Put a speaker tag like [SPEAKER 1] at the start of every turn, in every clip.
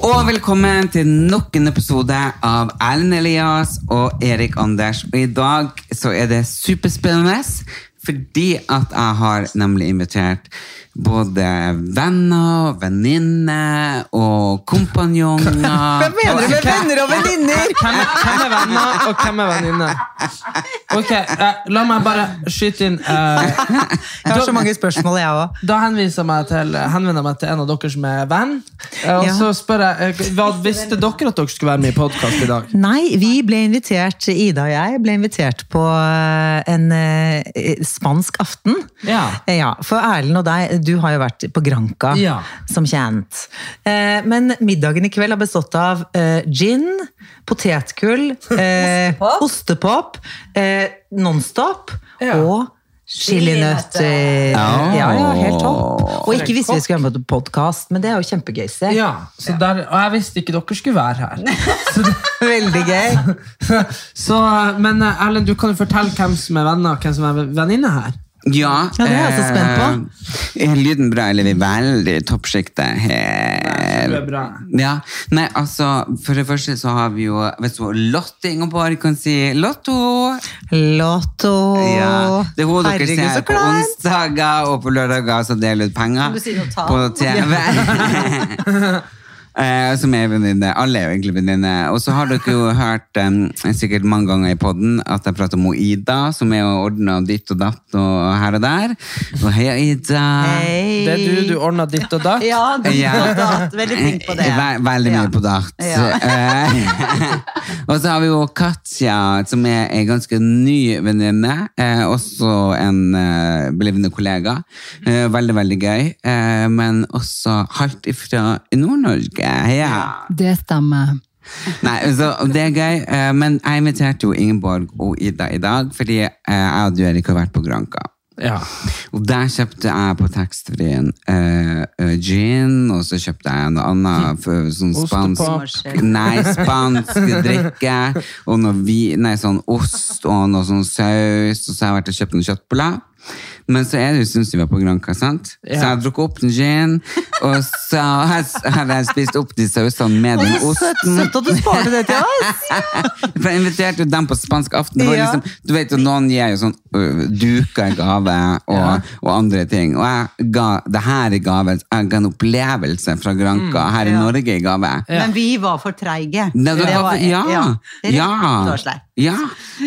[SPEAKER 1] Og velkommen til nok en episode av Erlend Elias og Erik Anders. Og i dag så er det superspennende, fordi at jeg har nemlig invitert både venner, venninner og kompanjonger. Hva
[SPEAKER 2] mener du med venner og venninner?
[SPEAKER 3] Hvem er, hvem er venner, og hvem er venninne? Ok, eh, La meg bare skyte inn. eh,
[SPEAKER 2] Jeg har så mange spørsmål, jeg òg.
[SPEAKER 3] da henviser jeg meg til, henvender jeg meg til en av dere som er venn. eh, og
[SPEAKER 2] Ja.
[SPEAKER 3] så spør jeg, eh, hva Visste dere at dere skulle være med i podkast i dag?
[SPEAKER 2] Nei, vi ble invitert, Ida og jeg ble invitert på eh, en eh, spansk aften.
[SPEAKER 3] Ja.
[SPEAKER 2] Eh, Ja, For Erlend og deg, du har jo vært på Granca,
[SPEAKER 3] Ja.
[SPEAKER 2] som kjent. Eh, Men middagen i kveld har bestått av eh, gin, potetgull, eh,
[SPEAKER 4] Ostepop.
[SPEAKER 2] ostepop, eh, Nonstop
[SPEAKER 3] Ja.
[SPEAKER 2] og chilinøtter.
[SPEAKER 1] Ja.
[SPEAKER 2] Ja, ja, helt topp. Og ikke visste vi skulle være med på podkast, men det er jo kjempegøy. Se.
[SPEAKER 3] Ja, så der, Og jeg visste ikke dere skulle være her. Så, det-
[SPEAKER 2] Veldig gøy.
[SPEAKER 3] så, eh, men eh, Erlend, du kan jo fortelle hvem som er venner og hvem som er venninne her.
[SPEAKER 1] Ja,
[SPEAKER 2] Ja, det er jeg så spent
[SPEAKER 1] på. Er lyden bra, eller er vi veldig i toppsjiktet her?
[SPEAKER 3] Det er bra.
[SPEAKER 1] Ja, nei, altså, for det første så har vi jo, vet du hva, Lotte Ingeborg kan si Lotto!
[SPEAKER 2] Lotto!
[SPEAKER 1] Ja, det er hun dere
[SPEAKER 2] Herregud, så
[SPEAKER 1] ser på
[SPEAKER 2] kleint.
[SPEAKER 1] onsdager og på lørdager som deler ut
[SPEAKER 2] Kan
[SPEAKER 1] penger
[SPEAKER 2] du si noe tall?
[SPEAKER 1] på TV. Eh, Som er venninne. Alle er jo egentlig venninne. Og så har dere jo hørt em, sikkert mange ganger i podden at jeg prater om hun Ida, som er ordna ditt og datt og her og der. Og heia, Ida.
[SPEAKER 2] Hei.
[SPEAKER 3] Det er du, du ordna ditt og datt.
[SPEAKER 2] Ja, du
[SPEAKER 1] Ja.
[SPEAKER 2] og datt. Veldig flink på det.
[SPEAKER 1] Ve veldig mye
[SPEAKER 2] Ja.
[SPEAKER 1] på dart.
[SPEAKER 2] Ja.
[SPEAKER 1] Eh, og så har vi jo Katja, som er en ganske ny venninne. Eh, også en eh, belivende kollega. Eh, veldig, veldig gøy. Eh, men også halvt ifra Nord-Norge. Ja.
[SPEAKER 5] Det stemmer.
[SPEAKER 1] Nei, så det er gøy. Eh, men jeg inviterte jo Ingeborg og Ida i dag, fordi eh, jeg og du, Erik, har vært på Granca.
[SPEAKER 3] Ja.
[SPEAKER 1] Og der kjøpte jeg på taxfree-en eh, eh, gin, og så kjøpte jeg noe annet for, sånn spansk,
[SPEAKER 2] Ostepop.
[SPEAKER 1] nei, spansk drikke, og noe vi, nei, sånn ost og noe sånn saus, og så har jeg vært og kjøpt noen kjøttboller. Men så er det jo synes vi var på Granca, sant? Så
[SPEAKER 3] Ja.
[SPEAKER 1] jeg drukket opp den gin, og så har jeg- har jeg spist opp de sausene med den
[SPEAKER 2] Å, så Søtt
[SPEAKER 1] osten.
[SPEAKER 2] søtt at du sparte det til oss!
[SPEAKER 1] For jeg inviterte jo dem på spansk aften. Det var
[SPEAKER 2] Ja.
[SPEAKER 1] liksom, du vet jo, Noen gir jo sånn øh, duker i gave og, og andre ting. Og jeg ga det her i gave. Jeg ga en opplevelse fra Granca
[SPEAKER 2] Mm.
[SPEAKER 1] her i Norge i gave.
[SPEAKER 2] Men vi var for treige.
[SPEAKER 1] Nei, det var- ja,
[SPEAKER 2] Rett
[SPEAKER 1] ja,
[SPEAKER 2] og slett.
[SPEAKER 1] ja.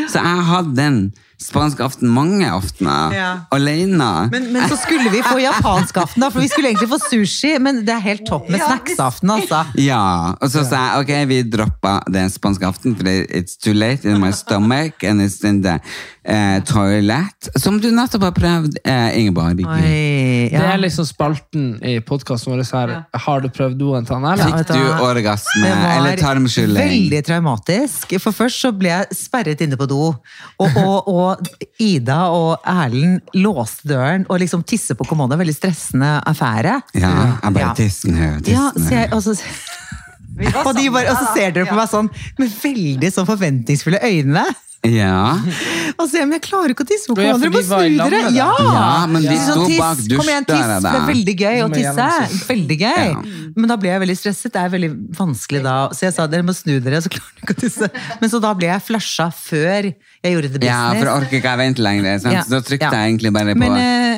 [SPEAKER 1] Så jeg hadde den spansk aften mange aftener.
[SPEAKER 2] Ja.
[SPEAKER 1] Alene.
[SPEAKER 2] Men, men så skulle vi få japansk aften, da, for vi skulle egentlig få sushi. Men det er helt topp med snacksaften, altså.
[SPEAKER 1] Ja, og så sa jeg, ok, vi droppet den spanske aften, for det- it's too late in my stomach, and it's in the eh, toilet, som du nettopp har prøvd, eh, Ingeborg.
[SPEAKER 2] Oi,
[SPEAKER 3] Det
[SPEAKER 2] ja.
[SPEAKER 3] er liksom spalten i podkasten vår her. Har du prøvd doen til han Erlend?
[SPEAKER 2] vet
[SPEAKER 1] Fikk
[SPEAKER 2] du
[SPEAKER 1] du
[SPEAKER 2] hva?
[SPEAKER 1] orgasme,
[SPEAKER 2] Det var
[SPEAKER 1] eller tarmskylling?
[SPEAKER 2] Veldig traumatisk. For først så ble jeg sperret inne på do. Og, og, og Ida og Erlend låste døren og liksom tisse på kommoden. Veldig stressende affære.
[SPEAKER 1] Ja, jeg bare
[SPEAKER 2] Ja.
[SPEAKER 1] tissen her,
[SPEAKER 2] Ja,
[SPEAKER 1] tissen
[SPEAKER 2] så jeg,
[SPEAKER 1] her.
[SPEAKER 2] og, så, og, de bare, og så ser dere på meg sånn med veldig sånn forventningsfulle øyne.
[SPEAKER 1] Ja,
[SPEAKER 2] Og så, men Altså, jeg klarer ikke å tisse på
[SPEAKER 3] Ja, for
[SPEAKER 2] hverandre.
[SPEAKER 3] de
[SPEAKER 2] Bare
[SPEAKER 3] var i
[SPEAKER 2] snu
[SPEAKER 3] lag
[SPEAKER 2] dere!
[SPEAKER 3] med deg.
[SPEAKER 2] Ja!
[SPEAKER 1] Ja, men de
[SPEAKER 2] Litt sånn
[SPEAKER 1] sto
[SPEAKER 2] tiss,
[SPEAKER 1] bak
[SPEAKER 2] Kom igjen, tiss!
[SPEAKER 1] dusjdøra
[SPEAKER 2] Det
[SPEAKER 1] der.
[SPEAKER 2] er veldig gøy å
[SPEAKER 3] må
[SPEAKER 2] tisse.
[SPEAKER 3] gjennom seg.
[SPEAKER 2] Veldig gøy.
[SPEAKER 1] Ja.
[SPEAKER 2] Men da ble jeg veldig stresset. Det er veldig vanskelig da. Så jeg sa dere må snu dere, så klarer dere ikke å tisse. Men så da ble jeg flasha før jeg gjorde det
[SPEAKER 1] ja for
[SPEAKER 2] business.
[SPEAKER 1] orker ikke jeg vente lenger, sant?
[SPEAKER 2] Ja,
[SPEAKER 1] så da trykte
[SPEAKER 2] ja.
[SPEAKER 1] jeg egentlig bare på
[SPEAKER 2] Men,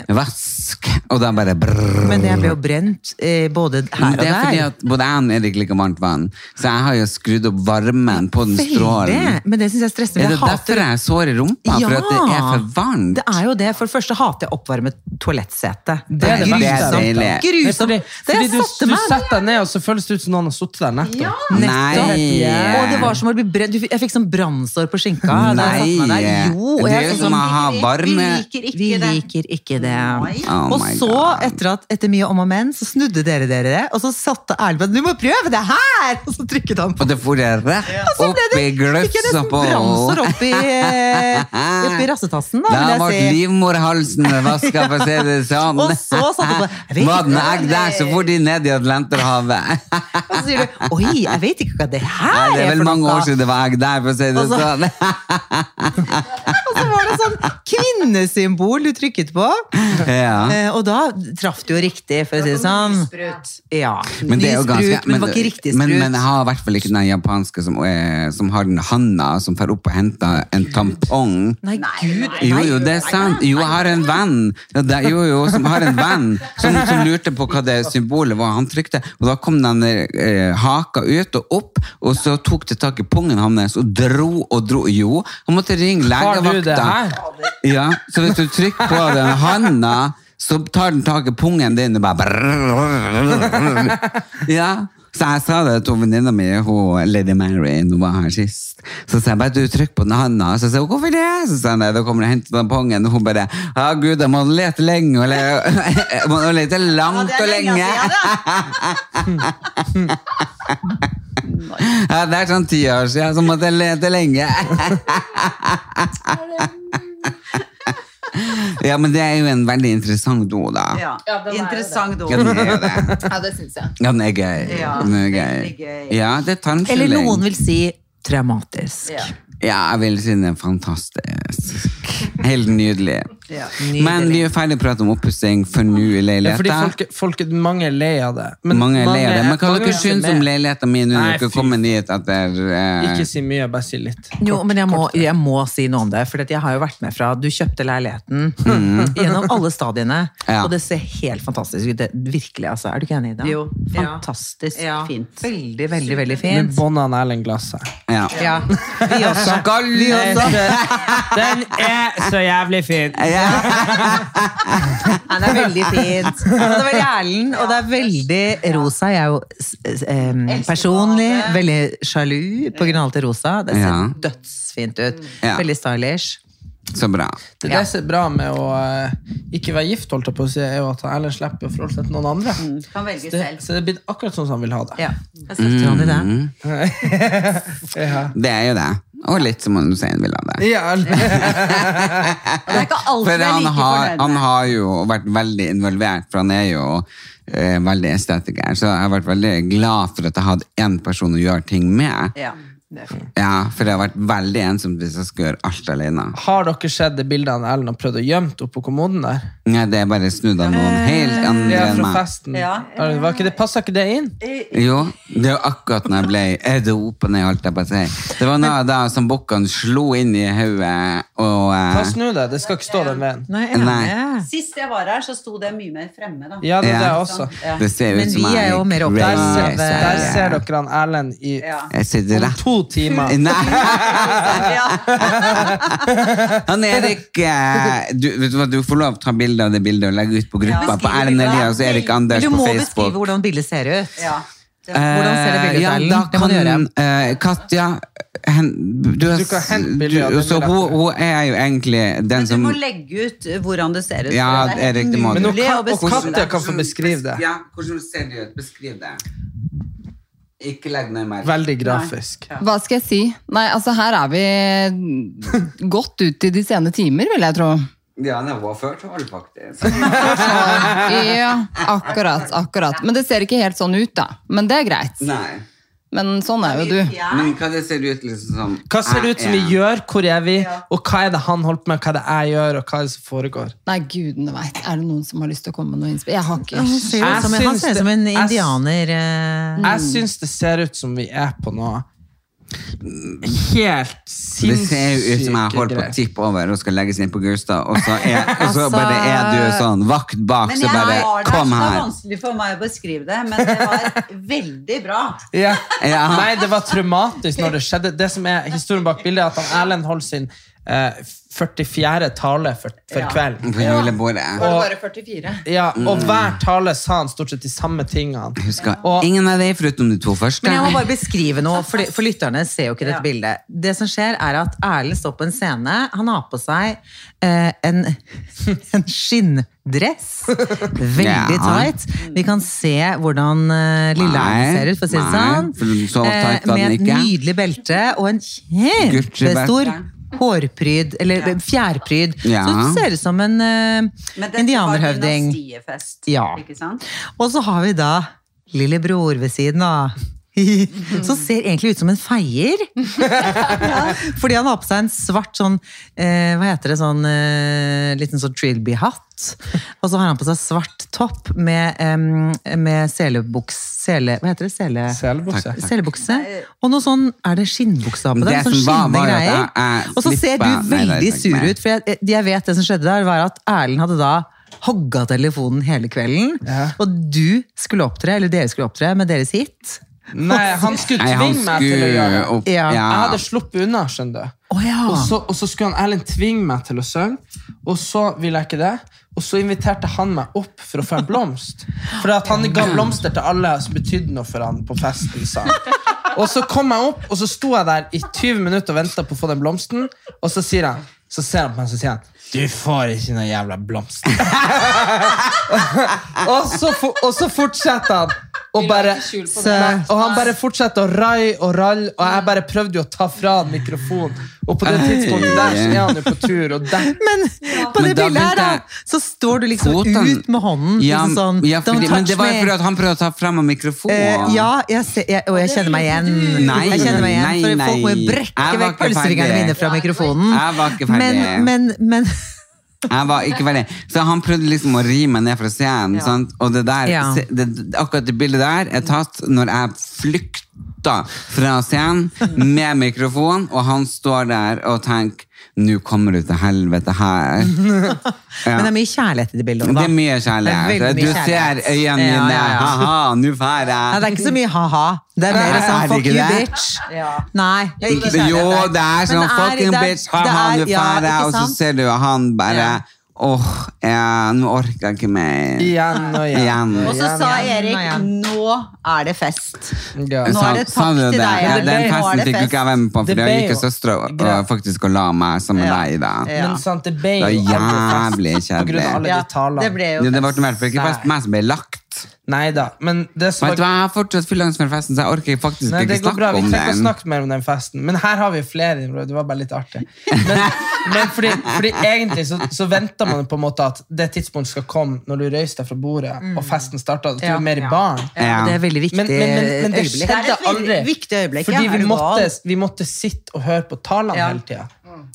[SPEAKER 2] eh,
[SPEAKER 1] vask Og da bare brrr.
[SPEAKER 2] Men jeg ble jo brent eh, både her
[SPEAKER 1] Men
[SPEAKER 2] og
[SPEAKER 1] det er fordi
[SPEAKER 2] der.
[SPEAKER 1] at både jeg og Erik liker varmt vann, så jeg har jo skrudd opp varmen på den strålen.
[SPEAKER 2] Veldig. Men det syns jeg er stressende.
[SPEAKER 1] Er det
[SPEAKER 2] jeg hater-
[SPEAKER 1] derfor jeg er sår i rumpa? For at det er for varmt?
[SPEAKER 2] Det er jo det. For det første hater jeg oppvarmet toalettsete.
[SPEAKER 3] Det er det
[SPEAKER 1] Nei,
[SPEAKER 3] verste. altså.
[SPEAKER 1] deilig.
[SPEAKER 2] Grusomt.
[SPEAKER 3] Fordi,
[SPEAKER 2] Da
[SPEAKER 3] fordi
[SPEAKER 2] jeg
[SPEAKER 3] du,
[SPEAKER 2] satte
[SPEAKER 3] du
[SPEAKER 2] meg der.
[SPEAKER 3] setter deg ned, og så føles det ut som noen har sittet der nettopp.
[SPEAKER 1] Nei!
[SPEAKER 2] Og det var som å bli brent. Du fikk- Jeg fikk sånn brannsår på skinka. da jeg satte meg
[SPEAKER 1] Nei!
[SPEAKER 2] der. Jo, og
[SPEAKER 1] det
[SPEAKER 2] jeg
[SPEAKER 1] er jo
[SPEAKER 2] sånn-
[SPEAKER 1] som å ha varme
[SPEAKER 2] Vi liker ikke det.
[SPEAKER 1] Oh
[SPEAKER 2] og
[SPEAKER 1] my
[SPEAKER 2] så,
[SPEAKER 1] God.
[SPEAKER 2] etter, at, etter mye om og men, så snudde dere dere det, og så satte Erlend på at 'du må prøve det her'! Og så trykket han på.
[SPEAKER 1] Og det for det rett
[SPEAKER 2] Så ble
[SPEAKER 1] opp i
[SPEAKER 2] det- fikk jeg
[SPEAKER 1] gløssa
[SPEAKER 2] nesten
[SPEAKER 1] på
[SPEAKER 2] branser opp i, eh, opp i rassetassen, da,
[SPEAKER 1] Da
[SPEAKER 2] vil
[SPEAKER 1] ble
[SPEAKER 2] jeg si.
[SPEAKER 1] livmorhalsen vaska, for å si det sånn.
[SPEAKER 2] Og så satte han på «Jeg vet ikke
[SPEAKER 1] Var den
[SPEAKER 2] hva
[SPEAKER 1] egg
[SPEAKER 2] det
[SPEAKER 1] der, så
[SPEAKER 2] er».
[SPEAKER 1] for de ned i Atlanterhavet.
[SPEAKER 2] Og så sier du 'oi, jeg vet ikke hva det her
[SPEAKER 1] Ja, det er
[SPEAKER 2] for
[SPEAKER 1] vel mange
[SPEAKER 2] noe».
[SPEAKER 1] år siden det var egg der, for å si det
[SPEAKER 2] Altså-
[SPEAKER 1] sånn.
[SPEAKER 2] Og så var det sånn kvinnesymbol du trykket på.
[SPEAKER 1] Ja.
[SPEAKER 2] Eh, Og da traff du jo riktig, for å si det sånn. Ja,
[SPEAKER 1] Men det er jo
[SPEAKER 2] nysprut,
[SPEAKER 1] ganske
[SPEAKER 2] men det var ikke riktig sprut.
[SPEAKER 1] Men, men jeg har i hvert fall ikke den japanske som, eh, som har den handa som drar opp og henter en tampong.
[SPEAKER 2] Nei, gud.
[SPEAKER 1] Jo, jo, det er sant. Jo, jeg har en venn ja, det, jo, jo, som har en venn som, som lurte på hva det symbolet var han trykte. Og da kom den eh, haka ut og opp, og så tok det tak i pungen hans og dro og dro. Jo, han måtte ringe
[SPEAKER 3] Har du det her?
[SPEAKER 1] legevakta. Ja, så hvis du trykker på den handa, så tar den tak i pungen din og bare brrrr. Ja. Så jeg sa det til venninna mi, hun Lady Mary, hun var her sist. Så sa jeg bare du trykk på den handa. Så sa hun hvorfor det? Så sa jeg nei, da kommer det og henter tampongen. Og hun bare å gud, jeg må lete lenge og le jeg må lete langt og lenge. Ja, det er sånn ti år siden, så måtte jeg lete lenge. Ja, men det er jo en veldig interessant do, da.
[SPEAKER 6] Ja, interessant ord.
[SPEAKER 1] Ja, den er det.
[SPEAKER 6] Ja, det syns
[SPEAKER 1] Ja,
[SPEAKER 6] jeg.
[SPEAKER 1] den er gøy.
[SPEAKER 6] Ja,
[SPEAKER 1] den er gøy.
[SPEAKER 6] veldig gøy.
[SPEAKER 1] Ja, det er tarmskylling.
[SPEAKER 2] Eller noen vil si traumatisk.
[SPEAKER 6] Ja.
[SPEAKER 1] Ja, jeg vil si den er fantastisk. Helt nydelig.
[SPEAKER 6] Ja.
[SPEAKER 1] Men vi er ferdig å prate om oppussing for nå i
[SPEAKER 3] Ja, fordi
[SPEAKER 1] leiligheta.
[SPEAKER 3] folk, folk, mange er lei av det.
[SPEAKER 1] mange er lei av det. Men hva
[SPEAKER 3] mange
[SPEAKER 1] dere
[SPEAKER 3] er ikke
[SPEAKER 1] syns
[SPEAKER 3] med.
[SPEAKER 1] om leiligheta mi nå
[SPEAKER 3] Nei,
[SPEAKER 1] når dere
[SPEAKER 3] fy
[SPEAKER 1] kommer dit etter eh,
[SPEAKER 3] Ikke si mye, bare si litt.
[SPEAKER 2] Jo, men jeg må, jeg må si noe om det, for at jeg har jo vært med fra du kjøpte leiligheten gjennom alle stadiene,
[SPEAKER 1] Mhm. Ja.
[SPEAKER 2] og det ser helt fantastisk ut. Det, virkelig, altså. Er du ikke enig i det?
[SPEAKER 6] Jo.
[SPEAKER 2] Fantastisk
[SPEAKER 6] Ja.
[SPEAKER 2] fint. Veldig, veldig, veldig
[SPEAKER 3] Nå
[SPEAKER 2] fint.
[SPEAKER 3] bånda han Erlend glasset.
[SPEAKER 1] Ja.
[SPEAKER 2] Ja. Vi også.
[SPEAKER 1] Skal vi også?
[SPEAKER 3] Den er så jævlig fin!
[SPEAKER 1] Ja.
[SPEAKER 2] Ja, det er veldig fint. Ja, Det er veldig Erlend, og det er veldig Rosa. Jeg er jo s- s- em, personlig veldig sjalu på grunn av alt det rosa. Det ser
[SPEAKER 1] Ja.
[SPEAKER 2] dødsfint ut.
[SPEAKER 1] Ja.
[SPEAKER 2] Veldig stylish.
[SPEAKER 1] Så bra.
[SPEAKER 3] Det det som er bra med å eh, ikke være gift, holdt jeg på å si, er jo at Erlend slipper å forholde seg til noen andre.
[SPEAKER 1] Mm.
[SPEAKER 6] Kan
[SPEAKER 3] Det,
[SPEAKER 6] velge selv.
[SPEAKER 3] så det er blitt akkurat sånn som han vil ha det.
[SPEAKER 2] Ja. Mm. Jeg støtter han i det.
[SPEAKER 1] Det er jo det. Og litt som han Hussein vil ha det.
[SPEAKER 3] Ja, Erlend.
[SPEAKER 6] Det er ikke alltid
[SPEAKER 1] For
[SPEAKER 6] jeg er
[SPEAKER 1] han
[SPEAKER 6] like
[SPEAKER 1] har,
[SPEAKER 6] fornøyd
[SPEAKER 1] han
[SPEAKER 6] med.
[SPEAKER 1] har jo vært veldig involvert, for han er jo eh, veldig estetiker. Så jeg har vært veldig glad for at jeg hadde én person å gjøre ting med.
[SPEAKER 6] Ja, det er fint.
[SPEAKER 1] Ja, for det har vært veldig ensomt hvis jeg skal gjøre alt alene.
[SPEAKER 3] Har dere sett det bildet av Erlend har prøvd å gjemme oppå kommoden der?
[SPEAKER 1] Nei, det er bare snudd av noen helt andre
[SPEAKER 3] Eh, Ja,
[SPEAKER 1] enn
[SPEAKER 3] fra
[SPEAKER 1] meg.
[SPEAKER 3] festen.
[SPEAKER 6] Ja.
[SPEAKER 3] Erlend, var ikke det, passa ikke det inn?
[SPEAKER 1] Jo, det er jo akkurat når jeg ble eh, det opp og ned, holdt jeg på å si. Det var noe da som bukkene slo inn i hodet, og
[SPEAKER 3] Ta
[SPEAKER 1] eh,
[SPEAKER 3] Snu deg, det skal ikke stå den veien.
[SPEAKER 2] Nei, jeg er
[SPEAKER 1] Nei.
[SPEAKER 2] enig.
[SPEAKER 6] Sist jeg var her, så sto det mye mer fremme, da.
[SPEAKER 3] Ja, det er det
[SPEAKER 1] Ja.
[SPEAKER 3] også.
[SPEAKER 1] det ser
[SPEAKER 2] Men
[SPEAKER 1] ut som
[SPEAKER 2] vi er jo mer opptatt
[SPEAKER 3] Der
[SPEAKER 1] crazy,
[SPEAKER 3] ser,
[SPEAKER 2] Nei,
[SPEAKER 3] der
[SPEAKER 1] så-
[SPEAKER 3] ser dere han Erlend i
[SPEAKER 6] Ja.
[SPEAKER 1] Jeg sitter
[SPEAKER 3] om
[SPEAKER 1] rett
[SPEAKER 3] to timer.
[SPEAKER 1] Nei,
[SPEAKER 6] Ja.
[SPEAKER 1] han Erik eh, du, vet du, hva, du får lov å ta bilde av det bildet og legge ut på gruppa
[SPEAKER 6] Ja,
[SPEAKER 1] på
[SPEAKER 6] skriv
[SPEAKER 1] Erlend
[SPEAKER 6] det.
[SPEAKER 1] Elias og Erik
[SPEAKER 2] Men
[SPEAKER 1] Anders
[SPEAKER 2] du
[SPEAKER 1] på
[SPEAKER 2] må beskrive
[SPEAKER 1] Facebook.
[SPEAKER 2] hvordan bildet ser ut.
[SPEAKER 6] ja. Det var-
[SPEAKER 2] hvordan ser det bildet ut,
[SPEAKER 1] Eh,
[SPEAKER 2] Erlend?
[SPEAKER 1] Ja,
[SPEAKER 2] Det
[SPEAKER 1] da
[SPEAKER 2] må du
[SPEAKER 1] kan eh, Katja hen, du, har-
[SPEAKER 3] Du kan hente bilder av
[SPEAKER 1] du-
[SPEAKER 3] det
[SPEAKER 1] Så
[SPEAKER 3] bildet.
[SPEAKER 1] hun, hun er jo egentlig den
[SPEAKER 6] Men du
[SPEAKER 1] som
[SPEAKER 6] må legge ut eh, hvordan det ser ut.
[SPEAKER 1] Ja,
[SPEAKER 6] for det er
[SPEAKER 1] Erik,
[SPEAKER 6] helt
[SPEAKER 1] det må du.
[SPEAKER 3] Men nå
[SPEAKER 6] mulig
[SPEAKER 3] kan,
[SPEAKER 6] å
[SPEAKER 3] og
[SPEAKER 6] beskrive
[SPEAKER 3] Katja
[SPEAKER 6] det.
[SPEAKER 3] kan få beskrive det.
[SPEAKER 1] Ja, hvordan ser det ut? Beskriv det. Ikke legg ned merke.
[SPEAKER 3] Veldig grafisk.
[SPEAKER 5] Hva skal jeg si? Nei, altså her er vi godt ut i de sene timer, vil jeg tro.
[SPEAKER 1] Ja, det var før tolv, faktisk.
[SPEAKER 5] Ja, akkurat, akkurat. Men det ser ikke helt sånn ut, da. Men det er greit.
[SPEAKER 1] Nei.
[SPEAKER 5] Men sånn er jo du.
[SPEAKER 1] Men hva det ser ut liksom som
[SPEAKER 3] Hva ser det ut som vi
[SPEAKER 1] Ja.
[SPEAKER 3] gjør, hvor er vi, og hva er det han holder på med, hva er det jeg gjør, og hva er det som foregår?
[SPEAKER 5] Nei, gudene veit. Er det noen som har lyst til å komme med noe innspill? Jeg har ikke
[SPEAKER 2] Ser ut
[SPEAKER 3] Jeg
[SPEAKER 2] som en- Han
[SPEAKER 3] syns
[SPEAKER 2] ser ut
[SPEAKER 3] det-
[SPEAKER 2] som en
[SPEAKER 3] jeg s-
[SPEAKER 2] indianer. eh,
[SPEAKER 3] Jeg syns det ser ut som vi er på noe Helt
[SPEAKER 1] Det ser jo ut som jeg
[SPEAKER 3] sinnssyke
[SPEAKER 1] holder på å
[SPEAKER 3] greier.
[SPEAKER 1] tippe over og skal legges inn på Gustav, og så, er, og så
[SPEAKER 5] Altså-
[SPEAKER 1] bare er du sånn vakt bak,
[SPEAKER 6] Men
[SPEAKER 1] så
[SPEAKER 6] jeg var
[SPEAKER 1] bare
[SPEAKER 6] der, så
[SPEAKER 1] kom
[SPEAKER 6] det er
[SPEAKER 1] her.
[SPEAKER 6] vanskelig for meg å beskrive det. Men det var veldig bra.
[SPEAKER 3] Ja.
[SPEAKER 1] Ja.
[SPEAKER 3] Nei, det var traumatisk når det skjedde. Det som er historien bak bildet, er at han Erlend holdt sin eh, 44. tale for, for
[SPEAKER 6] Ja.
[SPEAKER 3] kvelden.
[SPEAKER 1] På julebordet.
[SPEAKER 3] Og-
[SPEAKER 6] Bare 44.
[SPEAKER 3] Ja, og hver tale sa han stort sett de samme tingene.
[SPEAKER 1] Mm. Husker
[SPEAKER 3] Og-
[SPEAKER 1] ingen av de foruten de to første.
[SPEAKER 2] Men jeg må bare beskrive noe, for, for lytterne ser jo ikke dette
[SPEAKER 6] Ja.
[SPEAKER 2] bildet. Det som skjer, er at Erlend står på en scene. Han har på seg eh, en, en skinndress. Veldig
[SPEAKER 1] Ja.
[SPEAKER 2] tight. Vi kan se hvordan
[SPEAKER 1] Nei,
[SPEAKER 2] eh, Lilleheim ser ut, for å si det
[SPEAKER 1] nei,
[SPEAKER 2] sånn.
[SPEAKER 1] for så tight var den
[SPEAKER 2] med et
[SPEAKER 1] ikke.
[SPEAKER 2] nydelig belte og en kjempestor
[SPEAKER 1] Gucci-belte.
[SPEAKER 2] hårpryd, eller fjærpryd.
[SPEAKER 1] Ja.
[SPEAKER 2] Så det ser ut som en eh,
[SPEAKER 6] Men dette
[SPEAKER 2] indianerhøvding.
[SPEAKER 6] var dynastiefest.
[SPEAKER 2] Ja.
[SPEAKER 6] Ikke sant?
[SPEAKER 2] Og så har vi da lillebror ved siden av. Som ser egentlig ut som en feier. Fordi han har på seg en svart sånn eh, Hva heter det? Sånn eh, liten sånn trilby-hatt. Og så har han på seg svart topp med, eh, med selebuks... Sele... Hva heter det? Sele...
[SPEAKER 3] Selbukse.
[SPEAKER 2] Selbukse. Og noe sånn Er det skinnbukse på
[SPEAKER 1] Men
[SPEAKER 2] den?
[SPEAKER 1] det
[SPEAKER 2] Sånn
[SPEAKER 1] som var, Ah,
[SPEAKER 2] skinnende
[SPEAKER 1] var at jeg-
[SPEAKER 2] greier.
[SPEAKER 1] jeg
[SPEAKER 2] Og så ser
[SPEAKER 1] slippa-
[SPEAKER 2] du
[SPEAKER 1] Nei, det er
[SPEAKER 2] veldig
[SPEAKER 1] ikke
[SPEAKER 2] sur
[SPEAKER 1] meg.
[SPEAKER 2] ut, for jeg, jeg vet det som skjedde der, var at Erlend hadde da hogga telefonen hele kvelden. Og du skulle opptre, eller dere skulle opptre med deres hit.
[SPEAKER 3] Nei, han skulle
[SPEAKER 1] Nei, han
[SPEAKER 3] tvinge meg til å gjøre
[SPEAKER 1] skulle
[SPEAKER 3] det.
[SPEAKER 1] opp
[SPEAKER 2] Ja.
[SPEAKER 3] Jeg hadde sluppet unna, skjønner du.
[SPEAKER 2] Å ja.
[SPEAKER 3] Og så, og så skulle han Erlend tvinge meg til å synge, og så ville jeg ikke det. Og så inviterte han meg opp for å få en blomst. For at han ga blomster til alle som betydde noe for han på festen. sa han. Og så kom jeg opp, og så sto jeg der i 20 minutter og venta på å få den blomsten, og så sier han så ser han på meg så sier han Du får ikke noen jævla blomst. og, så, for- og så fortsetter han. Og, bare, Nei, og han bare fortsetter å rai og ralle, og jeg bare prøvde jo å ta fra han mikrofonen. Og på det tidspunktet der så er han jo på tur, og der
[SPEAKER 2] Men på det
[SPEAKER 1] Men da
[SPEAKER 2] bildet her,
[SPEAKER 1] begynte jeg-
[SPEAKER 2] da, så står du liksom
[SPEAKER 1] Foten-
[SPEAKER 2] ut med hånden.
[SPEAKER 1] Ja,
[SPEAKER 2] liksom sånn,
[SPEAKER 1] ja, fordi,
[SPEAKER 2] «Don't
[SPEAKER 1] men
[SPEAKER 2] touch
[SPEAKER 1] det var jo
[SPEAKER 2] me».
[SPEAKER 1] fordi at han prøvde å ta frem en mikrofon.
[SPEAKER 2] Eh, ja, jeg ser, jeg, og jeg kjenner meg igjen.
[SPEAKER 1] Nei,
[SPEAKER 2] jeg kjenner meg igjen,
[SPEAKER 1] nei,
[SPEAKER 2] For folk må jo
[SPEAKER 1] nei. Jeg
[SPEAKER 2] brekke
[SPEAKER 1] var
[SPEAKER 2] vekk
[SPEAKER 1] ikke
[SPEAKER 2] pølsefingrene
[SPEAKER 1] ferdig.
[SPEAKER 2] mine fra mikrofonen.
[SPEAKER 1] Jeg var ikke ferdig.
[SPEAKER 2] Men, men,
[SPEAKER 1] Jeg var ikke ferdig. Så han prøvde liksom å ri meg ned fra scenen. Sant? Og det der,
[SPEAKER 2] Ja.
[SPEAKER 1] se- det, akkurat det bildet der er tatt når jeg flykta fra scenen med mikrofon, og han står der og tenker Nå kommer du til helvete her.
[SPEAKER 2] men det er mye kjærlighet i det bildet.
[SPEAKER 1] Det
[SPEAKER 2] også, da.
[SPEAKER 1] er mye
[SPEAKER 2] Det
[SPEAKER 1] kjærlighet.
[SPEAKER 2] er veldig
[SPEAKER 1] du
[SPEAKER 2] mye kjærlighet.
[SPEAKER 1] ser øynene
[SPEAKER 2] Ja,
[SPEAKER 1] mine.
[SPEAKER 2] ja, ja.
[SPEAKER 1] Ha-ha, nå drar
[SPEAKER 2] Nei, det er
[SPEAKER 1] jeg.
[SPEAKER 2] ikke så mye ha-ha. Det er mer
[SPEAKER 1] Nei,
[SPEAKER 2] sånn
[SPEAKER 1] er det
[SPEAKER 2] fuck
[SPEAKER 1] ikke
[SPEAKER 2] you,
[SPEAKER 1] det?
[SPEAKER 2] bitch. Nei, det er ikke kjærlighet
[SPEAKER 1] Jo,
[SPEAKER 2] der.
[SPEAKER 1] det er sånn
[SPEAKER 2] Men det er-
[SPEAKER 1] fucking
[SPEAKER 2] det er-
[SPEAKER 1] bitch, ha-ha, nå
[SPEAKER 2] det er- ja,
[SPEAKER 1] drar jeg.
[SPEAKER 2] ikke
[SPEAKER 1] Og så
[SPEAKER 2] sant?
[SPEAKER 1] ser du han bare Åh, ja, nå orker jeg ikke mer.
[SPEAKER 3] igjen og igjen.
[SPEAKER 1] Igjen.
[SPEAKER 6] Og så sa Erik
[SPEAKER 2] ja.
[SPEAKER 6] 'nå er det fest'.
[SPEAKER 3] Ja.
[SPEAKER 6] Nå er det
[SPEAKER 1] Sa- sa
[SPEAKER 6] takk
[SPEAKER 1] du
[SPEAKER 6] til
[SPEAKER 1] det?
[SPEAKER 6] deg,
[SPEAKER 1] Ja, den
[SPEAKER 6] Erlend. Nå er
[SPEAKER 1] festen
[SPEAKER 6] det
[SPEAKER 1] fikk jo ikke
[SPEAKER 6] fest.
[SPEAKER 1] jeg være med på,
[SPEAKER 3] Det
[SPEAKER 1] for
[SPEAKER 3] ble
[SPEAKER 1] jeg gikk
[SPEAKER 3] jo
[SPEAKER 1] jo søstera og-
[SPEAKER 3] greit.
[SPEAKER 1] og faktisk og la meg sammen med deg da.
[SPEAKER 6] Ja.
[SPEAKER 3] Men sant, det ble
[SPEAKER 1] Det var
[SPEAKER 3] jo aldri
[SPEAKER 1] jævlig
[SPEAKER 3] fest på grunn av alle
[SPEAKER 6] Ja,
[SPEAKER 3] de talene.
[SPEAKER 6] det ble
[SPEAKER 1] Ja,
[SPEAKER 6] jo
[SPEAKER 1] det ble
[SPEAKER 6] fest.
[SPEAKER 1] i hvert fall ikke fest meg som ble lagt.
[SPEAKER 3] Neida, men det som
[SPEAKER 1] Vet du
[SPEAKER 3] var...
[SPEAKER 1] hva, Jeg har fortsatt fyllangst for festen, så jeg orker faktisk
[SPEAKER 3] Nei, det
[SPEAKER 1] ikke
[SPEAKER 3] går bra.
[SPEAKER 1] snakke
[SPEAKER 3] Vi
[SPEAKER 1] om
[SPEAKER 3] trenger ikke
[SPEAKER 1] den.
[SPEAKER 3] å snakke mer om den festen. Men her har vi flere innrømmer. Det var bare litt artig. Men, men fordi, fordi egentlig så, så venter man på en måte at det tidspunktet skal komme når du reiser deg fra bordet og festen starter. At du
[SPEAKER 2] Ja.
[SPEAKER 3] er mer i
[SPEAKER 2] Ja.
[SPEAKER 3] barn.
[SPEAKER 2] Ja, det er veldig viktig
[SPEAKER 3] Men, men, men, men det
[SPEAKER 2] øyeblikk.
[SPEAKER 6] Det er
[SPEAKER 3] skjedde
[SPEAKER 6] et veldig
[SPEAKER 3] aldri.
[SPEAKER 6] viktig øyeblikk,
[SPEAKER 3] Fordi
[SPEAKER 6] ja. Er
[SPEAKER 3] vi
[SPEAKER 6] du
[SPEAKER 3] måtte,
[SPEAKER 6] gal?
[SPEAKER 3] vi måtte sitte og høre på talene
[SPEAKER 6] Ja.
[SPEAKER 3] hele tida.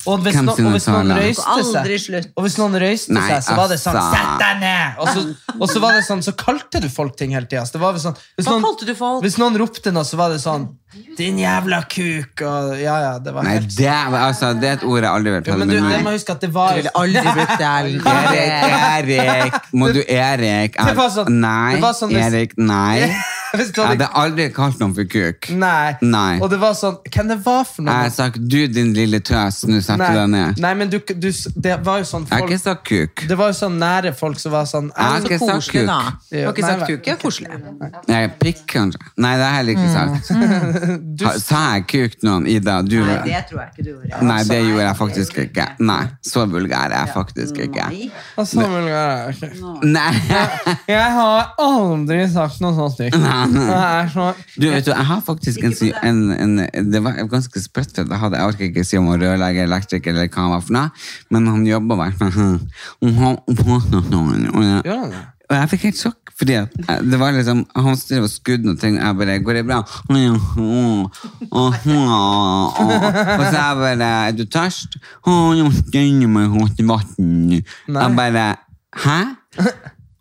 [SPEAKER 3] Og hvis,
[SPEAKER 1] Hvem
[SPEAKER 3] no, og
[SPEAKER 1] sine
[SPEAKER 3] hvis noen
[SPEAKER 1] taler?
[SPEAKER 3] røyste
[SPEAKER 6] Mm. Aldri
[SPEAKER 3] seg,
[SPEAKER 6] slutt.
[SPEAKER 3] og hvis noen røyste
[SPEAKER 1] Nei,
[SPEAKER 3] seg, så var det sånn
[SPEAKER 1] altså.
[SPEAKER 3] Sett deg ned! Og så, og så var det sånn, så kalte du folk ting hele tida. Sånn, hvis,
[SPEAKER 6] Hva
[SPEAKER 3] noen-
[SPEAKER 6] kalte du folk?
[SPEAKER 3] hvis noen ropte noe, så var det sånn Din jævla kuk! Og, ja, ja, det var
[SPEAKER 1] Nei,
[SPEAKER 3] helt
[SPEAKER 1] det, er- altså, det er et ord jeg aldri vil
[SPEAKER 3] jo,
[SPEAKER 1] ta
[SPEAKER 3] Men
[SPEAKER 1] med
[SPEAKER 3] du, det må
[SPEAKER 1] meg.
[SPEAKER 3] jeg huske at det var
[SPEAKER 2] ville aldri brukt det. Erlend.
[SPEAKER 1] Erik, Erik, må du Erik?
[SPEAKER 3] Det var sånn-
[SPEAKER 1] Nei,
[SPEAKER 3] det var sånn hvis-
[SPEAKER 1] Erik, nei.
[SPEAKER 3] Hvis du
[SPEAKER 1] Jeg
[SPEAKER 3] hadde,
[SPEAKER 1] hadde aldri kalt noen for kuk.
[SPEAKER 3] nei.
[SPEAKER 1] Nei.
[SPEAKER 3] Og det var sånn Hvem det var for
[SPEAKER 1] Jeg har
[SPEAKER 3] noe?
[SPEAKER 1] sagt 'du, din lille tøs', nå setter du deg
[SPEAKER 3] Nei,
[SPEAKER 1] ned.
[SPEAKER 3] nei men du, du Det var jo sånn
[SPEAKER 1] Jeg har
[SPEAKER 3] folk
[SPEAKER 1] ikke sagt kuk.
[SPEAKER 3] Det var jo sånn nære folk som var sånn
[SPEAKER 1] Jeg har
[SPEAKER 3] «Erlend,
[SPEAKER 1] ikke sagt
[SPEAKER 2] Koselig,
[SPEAKER 1] kuk.
[SPEAKER 2] da. Du har ikke
[SPEAKER 3] Nei,
[SPEAKER 2] sagt
[SPEAKER 3] nei.
[SPEAKER 2] kuk. Ja, koselig.
[SPEAKER 1] Nei, pikk kanskje. Nei, det har jeg heller ikke sagt. Ha, sa jeg kuk noen, Ida? Du,
[SPEAKER 6] Nei, det tror jeg ikke du gjorde.
[SPEAKER 1] nei, det gjorde jeg faktisk ikke. Nei, så vulgær er jeg faktisk ikke.
[SPEAKER 6] Nei.
[SPEAKER 3] Og så vil jeg- ok.
[SPEAKER 1] Nei,
[SPEAKER 3] Jeg har aldri sagt noe sånt stygt. Det er så
[SPEAKER 1] du vet du, jeg har faktisk en, sy- en, en Det var ganske sprøtt. for Jeg, hadde, jeg orker ikke si om han var rørlegger, elektriker eller hva han var for noe, men han jobba i hvert fall.
[SPEAKER 3] Gjør han det?
[SPEAKER 1] Og jeg fikk helt sjokk, fordi at jeg- det var liksom Han strev og skudde noen ting, og jeg bare 'Går det bra?' Og så jeg bare 'Er du tørst?' 'Å, jeg må stenge meg godt i vann'. Jeg bare 'Hæ?'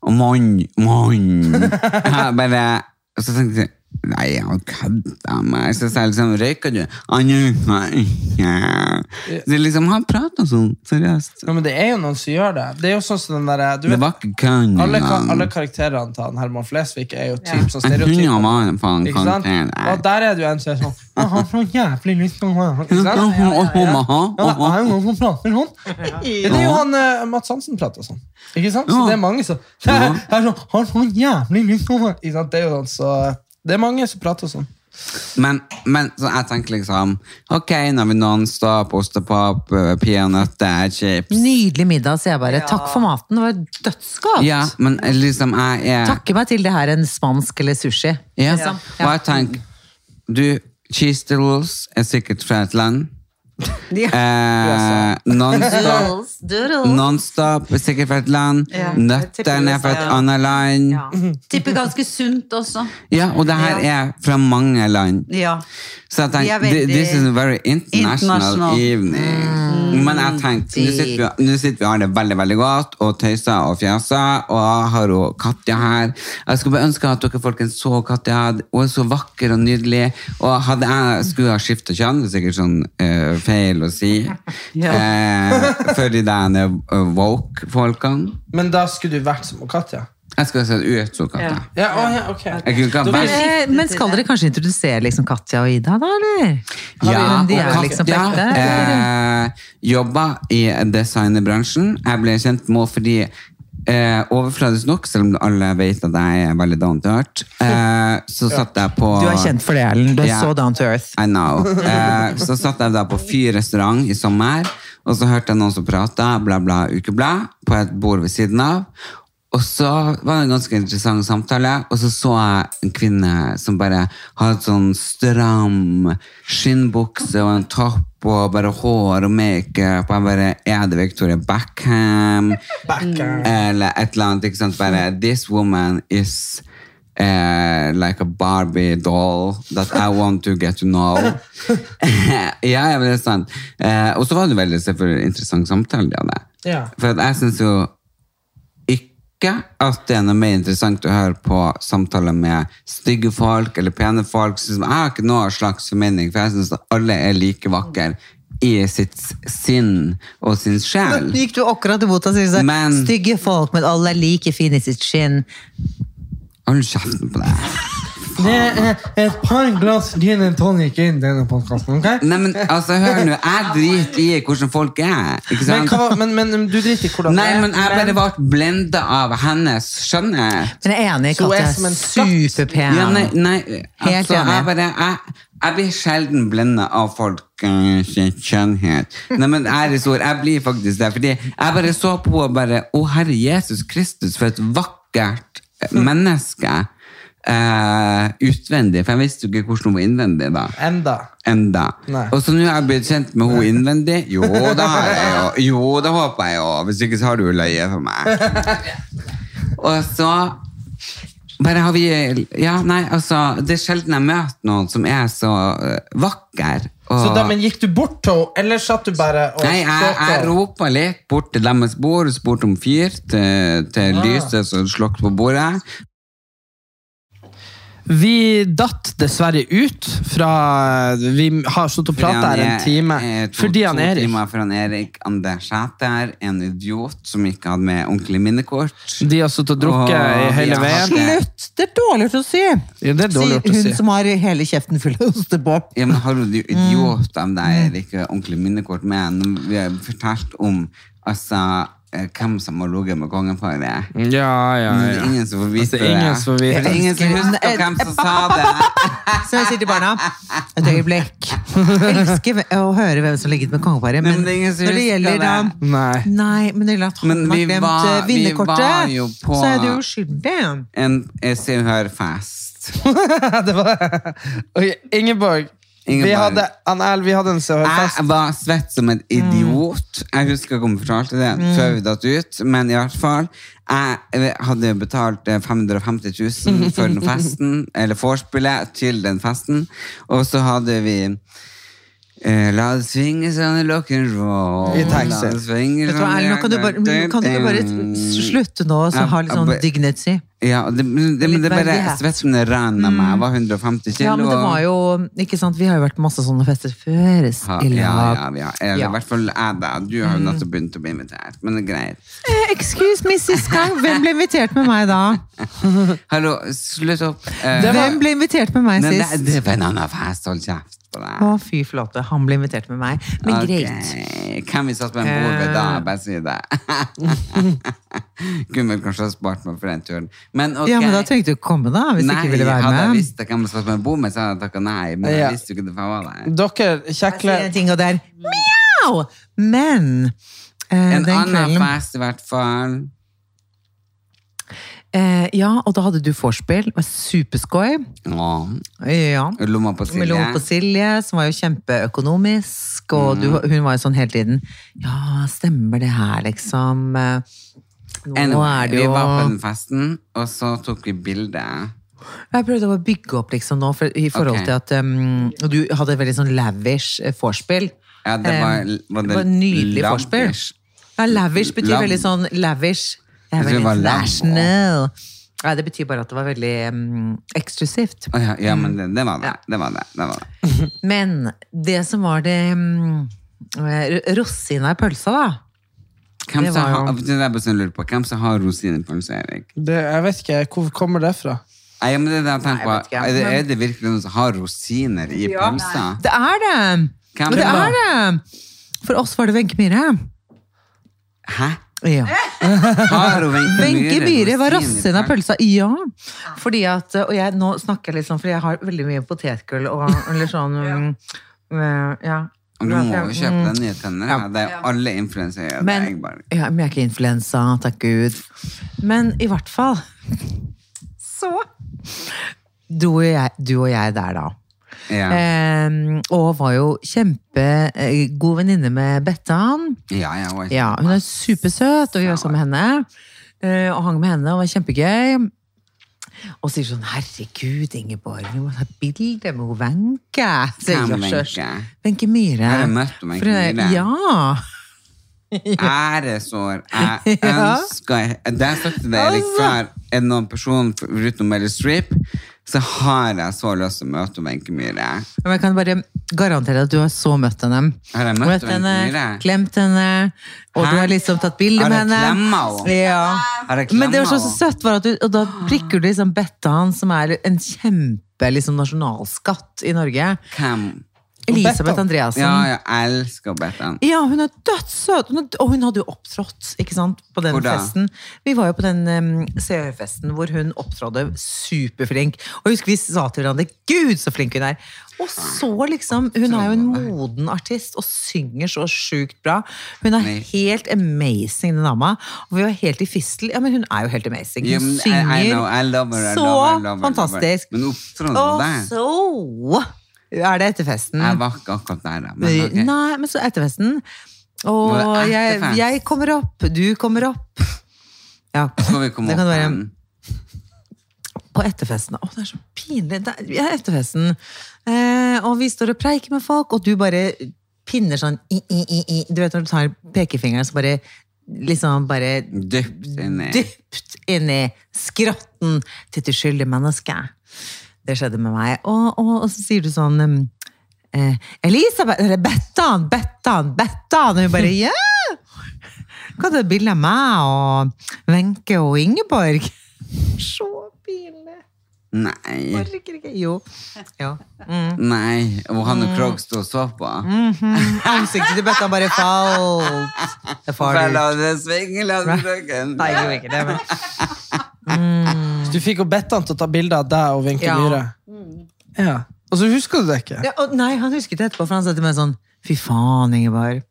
[SPEAKER 1] Og mann, mann. Jeg bare Og så tenkte jeg Nei, han kødda meg. Så sa jeg liksom, røyker du? «Ah, nå, nei, ja.» Så liksom, han prater sånn, seriøst.
[SPEAKER 3] Ja, men det er jo noen som gjør det. Det er jo sånn som den der, du
[SPEAKER 1] Det
[SPEAKER 3] vet,
[SPEAKER 1] var ikke kønn.
[SPEAKER 3] alle, ka- alle karakterene til han Herman Flesvig er jo typ sånn
[SPEAKER 1] Jeg kunne jo
[SPEAKER 3] stereotyper.
[SPEAKER 1] være faen
[SPEAKER 3] Ikke sant?
[SPEAKER 1] karakter. Nei.
[SPEAKER 3] Og der er det jo en som er sånn «Å, Han har så jævlig lyst til å være Ikke
[SPEAKER 1] Ja,
[SPEAKER 3] sant?
[SPEAKER 1] ja, ja,
[SPEAKER 3] Ja, det
[SPEAKER 1] ja.
[SPEAKER 3] er jo noen som prater sånn. Ja, det er jo han eh, Mats Hansen prater sånn. Ikke sant? Så
[SPEAKER 1] Ja.
[SPEAKER 3] det er mange som det
[SPEAKER 1] Ja.
[SPEAKER 3] er, det er sånn, Har så jævlig lyst til å være Ikke sant? Det er jo sånn, så det er mange som prater sånn.
[SPEAKER 1] Men, men så jeg tenker liksom Ok, når vi nonstop, ostepop, eh, peanøtter, chips
[SPEAKER 2] Nydelig middag, sier jeg bare. Takk for maten, det var dødsgodt.
[SPEAKER 1] Ja, men liksom jeg er
[SPEAKER 2] Takke meg til det her en spansk eller sushi.
[SPEAKER 1] Ja.
[SPEAKER 2] liksom.
[SPEAKER 1] Og jeg tenker Du, cheese doodles er sikkert fra et land. Eh, nonstop
[SPEAKER 6] Doodles, doodles.
[SPEAKER 1] Nonstop er sikkert fra et land.
[SPEAKER 6] Ja, jeg tipper
[SPEAKER 1] Nøttene er fra et
[SPEAKER 6] USA, ja.
[SPEAKER 1] annet land.
[SPEAKER 6] Ja. Tipper ganske sunt også.
[SPEAKER 1] Ja, og det her er fra mange land.
[SPEAKER 6] Ja.
[SPEAKER 1] Så jeg
[SPEAKER 6] Vi
[SPEAKER 1] tenkte,
[SPEAKER 6] er veldig-
[SPEAKER 1] "Th- this is a very international,
[SPEAKER 6] International.
[SPEAKER 1] evening. Men jeg tenkte, nå sitter, vi, nå sitter vi og har det veldig, veldig godt, og tøyser og fjaser, og jeg har jo Katja her. Jeg skulle bare ønske at dere folkens så Katja, hun er så vakker og nydelig, og hadde jeg skulle ha skiftet kjønn, det er sikkert sånn eh, feil å si, eh, for de der eh, woke-folkene.
[SPEAKER 3] Men da skulle du vært som Katja.
[SPEAKER 1] Jeg skulle ha sett ut som Katja.
[SPEAKER 3] Ja, å, ja, ok.
[SPEAKER 1] Jeg kunne ikke ha
[SPEAKER 3] Da
[SPEAKER 1] vært...
[SPEAKER 3] vil jeg-
[SPEAKER 2] Eh, Men skal dere kanskje introdusere liksom Katja og Ida, da? eller?
[SPEAKER 1] Ja,
[SPEAKER 2] Men de
[SPEAKER 1] og
[SPEAKER 2] er jo liksom på
[SPEAKER 1] Katja
[SPEAKER 2] ekte.
[SPEAKER 1] eh, jobba i designerbransjen. Jeg ble kjent med henne fordi eh, overfladisk nok, selv om alle vet at jeg er veldig down to earth, eh, så satt jeg på
[SPEAKER 2] Du er kjent for det, Ellen. Du er
[SPEAKER 1] Ja.
[SPEAKER 2] så down to earth.
[SPEAKER 1] I know. Eh, så satt jeg da på Fyr restaurant i sommer, og så hørte jeg noen som prata bla, bla, ukeblad på et bord ved siden av. Og så var det en ganske interessant samtale, og så så jeg en kvinne som bare hadde sånn stram skinnbukse og en topp og bare hår og makeup. Og jeg bare Er det Victoria Backham? Eller et eller annet. ikke sant? Bare This woman is eh, like a Barbie doll that I want to get to know. ja, ja, men det er sant. Eh, og så var det veldig selvfølgelig interessant samtale de hadde.
[SPEAKER 3] Ja.
[SPEAKER 1] For at jeg syns jo ikke at det er noe mer interessant å høre på samtaler med stygge folk eller pene folk. Så Jeg har ikke noe slags formening, for jeg syns alle er like vakre i sitt sinn og sin sjel.
[SPEAKER 2] Nå gikk du akkurat imot og syntes
[SPEAKER 1] Men-
[SPEAKER 2] stygge folk, men alle er like fine i sitt skinn.
[SPEAKER 1] Hold kjeften på deg.
[SPEAKER 3] Det er eh, et par glass gin and tonic inn i denne podkasten. ok?
[SPEAKER 1] Nei, men altså, hør nå. Jeg driter i hvordan folk er. Ikke
[SPEAKER 3] Men,
[SPEAKER 1] sant?
[SPEAKER 3] hva, men, men men du driter i hvordan
[SPEAKER 1] Nei,
[SPEAKER 3] det er.
[SPEAKER 1] men jeg bare ble blenda av hennes, skjønner jeg?
[SPEAKER 2] Men jeg er enig i
[SPEAKER 3] Så hun er
[SPEAKER 2] Katja.
[SPEAKER 3] som en skatt.
[SPEAKER 2] Superpen.
[SPEAKER 1] Ja, nei, nei
[SPEAKER 2] Helt
[SPEAKER 1] altså, jeg,
[SPEAKER 2] enig.
[SPEAKER 1] bare, jeg, jeg blir sjelden blenda av folk eh, sin skjønnhet. Nei, men ærlig ord, jeg blir faktisk det. Fordi jeg bare så på henne og bare Å, Herre Jesus Kristus, for et vakkert menneske. eh, utvendig, for jeg visste jo ikke hvordan hun var innvendig da.
[SPEAKER 3] Enda.
[SPEAKER 1] Enda.
[SPEAKER 3] Nei.
[SPEAKER 1] Og så nå har jeg blitt kjent med henne innvendig. Jo, det har jeg jo. Jo, det håper jeg jo. Hvis ikke så har du jo løyet for meg. Og så bare har vi Ja, nei, altså Det er sjelden jeg møter noen som er så eh, vakker. Og,
[SPEAKER 3] Så da, men Gikk du bort til henne, eller satt du bare og
[SPEAKER 1] Nei, jeg,
[SPEAKER 3] stalka
[SPEAKER 1] jeg
[SPEAKER 3] henne?
[SPEAKER 1] ropa litt bort til deres bord, spurte om fyr til, til
[SPEAKER 3] Ah.
[SPEAKER 1] lyset som slukket på bordet.
[SPEAKER 3] Vi datt dessverre ut fra Vi har stått og prata her en time.
[SPEAKER 1] eh, to,
[SPEAKER 3] Fordi han
[SPEAKER 1] to
[SPEAKER 3] Erik
[SPEAKER 1] timer for han Erik Anders Sæter, en idiot som ikke hadde med ordentlig minnekort.
[SPEAKER 3] De har sittet og drukket
[SPEAKER 1] Åh,
[SPEAKER 3] i hele
[SPEAKER 1] ja.
[SPEAKER 3] veien.
[SPEAKER 2] Slutt! Det er dårlig å si!
[SPEAKER 3] Ja, det er dårlig gjort å
[SPEAKER 2] Hun
[SPEAKER 3] si.
[SPEAKER 2] som har hele kjeften full av ostepop.
[SPEAKER 1] Ja, men har du de idiot om det er ikke ordentlig minnekort med? Når vi har fortalt om altså, eh, hvem som har ligget med kongeparet.
[SPEAKER 3] Ja, ja,
[SPEAKER 1] Men det er
[SPEAKER 3] ja.
[SPEAKER 1] ingen som får vite
[SPEAKER 3] Altså, ingen
[SPEAKER 1] det.
[SPEAKER 3] som får vite
[SPEAKER 1] For det er ingen som husker hvem som sa det.
[SPEAKER 2] Så jeg sier til barna et øyeblikk. Jeg elsker å høre hvem som har ligget med
[SPEAKER 1] Nei,
[SPEAKER 2] kongeparet,
[SPEAKER 1] men
[SPEAKER 2] men
[SPEAKER 1] det er ingen som
[SPEAKER 2] når det
[SPEAKER 1] husker
[SPEAKER 2] gjelder da
[SPEAKER 1] det.
[SPEAKER 3] Nei.
[SPEAKER 2] Nei, men det gjelder at han
[SPEAKER 1] Men
[SPEAKER 2] har
[SPEAKER 1] vi
[SPEAKER 2] glemt
[SPEAKER 1] var-
[SPEAKER 2] eh,
[SPEAKER 1] vi var
[SPEAKER 2] vinnerkortet,
[SPEAKER 1] jo på-
[SPEAKER 2] så er du jo skyldig.
[SPEAKER 1] En eh, Se og Hør-fest.
[SPEAKER 3] det var Ok, Ingeborg. Vi
[SPEAKER 1] Ingeborg.
[SPEAKER 3] hadde, Annel, vi hadde en
[SPEAKER 1] Jeg
[SPEAKER 3] serverfest.
[SPEAKER 1] var svett som
[SPEAKER 2] Mm.
[SPEAKER 1] en idiot. Jeg husker ikke om jeg fortalte det før vi datt ut, men i hvert fall. Jeg hadde betalt eh, 550 000 for den festen, eller vorspielet til den festen, og så hadde vi Eh, La det svinge sånn rock'n'roll
[SPEAKER 3] I taxi.
[SPEAKER 1] La det svinge sånn
[SPEAKER 2] Vet du hva, Erlend, nå kan du bare, kan du ikke bare slutte nå og så ha litt sånn dignity?
[SPEAKER 1] Ja, det, men det, men det bare, jeg vet ikke om det rann av meg. Jeg var 150 kilo.
[SPEAKER 2] Mm. Ja, men det var jo Ikke sant, vi har jo vært på masse sånne fester før.
[SPEAKER 1] Ja,
[SPEAKER 2] i
[SPEAKER 1] ja,
[SPEAKER 2] lag. Mm.
[SPEAKER 1] ja, vi har- eller i hvert fall jeg, da. Du har jo nettopp begynt å bli invitert, men det er greit.
[SPEAKER 2] Eh, Excuse me, sist gang. Hvem ble invitert med meg da?
[SPEAKER 1] Hallo, slutt opp. Eh,
[SPEAKER 2] Hvem ble invitert med meg
[SPEAKER 1] men det,
[SPEAKER 2] sist?
[SPEAKER 1] det var en annen fest, hold kjeft på deg.
[SPEAKER 2] Å, fy flate. Han ble invitert med meg. Men
[SPEAKER 1] Ok,
[SPEAKER 2] greit. Eh.
[SPEAKER 1] Hvem vi satt med en bord ved da? Bare si det. Kunne vel kanskje ha spart meg for den turen. Men ok.
[SPEAKER 2] Ja, men da trengte du ikke komme, da. Hvis du
[SPEAKER 1] nei,
[SPEAKER 2] ikke ville være
[SPEAKER 1] Hadde jeg
[SPEAKER 2] med.
[SPEAKER 1] visst hvem som satt med en bord med, så hadde jeg takket nei. Men
[SPEAKER 3] Ja.
[SPEAKER 1] jeg visste jo ikke det for jeg var der.
[SPEAKER 3] Dere,
[SPEAKER 2] Jeg sier
[SPEAKER 3] kjekle
[SPEAKER 2] en ting, og det er miau! Men eh,
[SPEAKER 1] En
[SPEAKER 2] den
[SPEAKER 1] annen
[SPEAKER 2] kvelden
[SPEAKER 1] fest i hvert fall.
[SPEAKER 2] eh, Ja, og da hadde du vorspiel. Det var Superskoy.
[SPEAKER 1] Å,
[SPEAKER 2] Ja.
[SPEAKER 1] lomma på Silje.
[SPEAKER 2] Med Lone på Silje, som var jo kjempeøkonomisk, og du,
[SPEAKER 1] Mm.
[SPEAKER 2] hun var jo sånn hele tiden Ja, stemmer det her, liksom? Eh, Nå
[SPEAKER 1] Anyway,
[SPEAKER 2] er det
[SPEAKER 1] Vi
[SPEAKER 2] jo
[SPEAKER 1] var på den festen, og så tok vi bilde.
[SPEAKER 2] Jeg prøvde å bygge opp liksom nå, for, i forhold
[SPEAKER 1] Ok.
[SPEAKER 2] til at um, og du hadde et veldig sånn lavish eh, vorspiel.
[SPEAKER 1] Ja, det var,
[SPEAKER 2] Eh,
[SPEAKER 1] var det
[SPEAKER 2] det var nydelig
[SPEAKER 1] lavish?
[SPEAKER 2] vorspiel. Ja, lavish betyr
[SPEAKER 1] Lav-
[SPEAKER 2] veldig sånn lavish. Det
[SPEAKER 1] Jeg tror
[SPEAKER 2] er
[SPEAKER 1] det
[SPEAKER 2] veldig
[SPEAKER 1] var lav-
[SPEAKER 2] international. Nei, det betyr bare at det var veldig um, eksklusivt.
[SPEAKER 1] Å ja, ja, men det, det var det. Det var det. det, var det.
[SPEAKER 2] Men det som var det um, eh, Rosina i pølsa, da.
[SPEAKER 1] Hvem
[SPEAKER 2] Det
[SPEAKER 1] som
[SPEAKER 2] var jo-
[SPEAKER 1] har, det er bare sånn jeg lurer på, hvem som har rosinen på pølse, Erik?
[SPEAKER 3] det, Jeg vet ikke, hvor kommer det fra?
[SPEAKER 1] Nei, men det er det jeg tenker på.
[SPEAKER 2] Nei, jeg
[SPEAKER 1] Er
[SPEAKER 2] vet ikke,
[SPEAKER 1] det, er det virkelig noen som har rosiner i pølsa?
[SPEAKER 2] Det er det!
[SPEAKER 1] Hvem
[SPEAKER 2] det
[SPEAKER 1] da?
[SPEAKER 2] er det! For oss var det Wenche Myhre.
[SPEAKER 1] Hæ?
[SPEAKER 2] Ja.
[SPEAKER 1] Har hun
[SPEAKER 2] Wenche Myhre var rassen av
[SPEAKER 1] pølsa?
[SPEAKER 2] pølsa. Ja. Fordi at, eh, og jeg, nå snakker jeg litt sånn, for jeg har veldig mye potetgull og eller sånn mm, eh, ja.
[SPEAKER 1] Du må jo kjøpe deg nye tenner.
[SPEAKER 2] Mm. Ja.
[SPEAKER 1] Ja. Det er jo alle influensere. gjør det,
[SPEAKER 2] Men,
[SPEAKER 1] jeg bare-
[SPEAKER 2] ja, men jeg er ikke influensa, takk Gud. Men i hvert fall så dro jo jeg, du og jeg der, da.
[SPEAKER 1] Ja.
[SPEAKER 2] Eh, Em, Ehm, og var jo kjempegod venninne med Bettan.
[SPEAKER 1] Ja, ja, hun er-
[SPEAKER 2] Ja, hun er supersøt, og vi var sammen med henne. eh, Og hang med henne, og var kjempegøy. Og sier sånn 'Herregud, Ingeborg, vi må ta bilde med hun Wenche'. Så jeg
[SPEAKER 1] Hvem
[SPEAKER 2] gjør sånn.
[SPEAKER 1] Wenche?
[SPEAKER 2] Wenche Myhre.
[SPEAKER 1] Har du møtt Wenche
[SPEAKER 2] For hun er-
[SPEAKER 1] Myhre?
[SPEAKER 2] Ja.
[SPEAKER 1] Æresår. Jeg
[SPEAKER 2] Ja. Altså.
[SPEAKER 1] ønsker Det har jeg sagt til deg, Erik, før. Er det noen person utenom Meryl Streep, så har jeg så lyst til å møte Wenche Myhre.
[SPEAKER 2] Men jeg kan bare garantere at du har så møtt henne.
[SPEAKER 1] Har jeg møtt
[SPEAKER 2] Møtt
[SPEAKER 1] Wenche
[SPEAKER 2] henne,
[SPEAKER 1] Myhre?
[SPEAKER 2] klemt henne, og
[SPEAKER 1] Hæ?
[SPEAKER 2] du har liksom tatt bilde
[SPEAKER 1] Har
[SPEAKER 2] med
[SPEAKER 1] jeg
[SPEAKER 2] henne.
[SPEAKER 1] klemma henne?
[SPEAKER 2] Ja.
[SPEAKER 1] Har jeg
[SPEAKER 2] Men det sånn var
[SPEAKER 1] klemma
[SPEAKER 2] så, så
[SPEAKER 1] henne?
[SPEAKER 2] søtt, var at du, og da prikker du liksom Bettan, som er en kjempe liksom, nasjonalskatt i Norge.
[SPEAKER 1] Hvem?
[SPEAKER 2] Elisabeth Andreassen.
[SPEAKER 1] Ja,
[SPEAKER 2] Ja,
[SPEAKER 1] jeg elsker Bettan.
[SPEAKER 2] hun er dødssøt! Hun er, og hun hadde jo opptrådt ikke sant, på den
[SPEAKER 1] Hvor da?
[SPEAKER 2] festen. Vi var jo på den um, CØ-festen hvor hun opptrådte superflink. Og jeg husker vi sa til hverandre 'Gud, så flink hun er'! Og så,
[SPEAKER 1] Ah,
[SPEAKER 2] liksom Hun er jo en moden artist og synger så sjukt bra. Hun er
[SPEAKER 1] Nei.
[SPEAKER 2] helt amazing, den dama. Og vi var helt i fistel. Ja, men hun er jo helt amazing.
[SPEAKER 1] Ja,
[SPEAKER 2] Hun
[SPEAKER 1] men I- I know, I
[SPEAKER 2] synger
[SPEAKER 1] love her, I love her, I love her, I love
[SPEAKER 2] så
[SPEAKER 1] her.
[SPEAKER 2] fantastisk.
[SPEAKER 1] Men opptrådte hun
[SPEAKER 2] Og
[SPEAKER 1] der?
[SPEAKER 2] så er det etter festen.
[SPEAKER 1] Jeg var ikke akkurat der, da. Men,
[SPEAKER 2] Nei,
[SPEAKER 1] ok.
[SPEAKER 2] Nei, men så etter festen. Og
[SPEAKER 1] Var det etter
[SPEAKER 2] jeg,
[SPEAKER 1] fest?
[SPEAKER 2] jeg kommer opp, du kommer opp. Ja.
[SPEAKER 1] Skal vi komme
[SPEAKER 2] det kan
[SPEAKER 1] opp
[SPEAKER 2] være-
[SPEAKER 1] igjen?
[SPEAKER 2] På etterfesten. Å, det er så pinlig. Det er, vi er etterfesten. Eh, og vi står og preiker med folk, og du bare pinner sånn i, i, i, i. Du vet når du tar pekefingeren, så bare liksom bare
[SPEAKER 1] Dypt inni.
[SPEAKER 2] dypt inn i skrotten til et uskyldig menneske. Det skjedde med meg. Og, og, og så sier du sånn um, eh, Elisabeth, eller Bettan, Bettan, Bettan! Og hun bare ja! Hva er det bildet av meg og Wenche og Ingeborg? Så pinlig.
[SPEAKER 1] Nei.
[SPEAKER 2] Orker ikke. Jo. Ja.
[SPEAKER 1] Nei. Og han
[SPEAKER 2] Mm.
[SPEAKER 1] og Krog sto og så på.
[SPEAKER 2] Mhm. Ansiktet til Bettan bare falt. Det
[SPEAKER 1] For
[SPEAKER 2] faller ut.
[SPEAKER 1] la det svinge, la det røyken.
[SPEAKER 2] Nei, jeg gjorde ikke det, men
[SPEAKER 3] Du fikk jo Bettan til å ta bilde av deg og Wenche
[SPEAKER 2] Mm. Ja. Mm.
[SPEAKER 3] Myhre. Ja. Og så husker du det ikke?
[SPEAKER 2] Ja, og nei, han husket det etterpå, for han sa til meg sånn Fy faen, Ingeborg.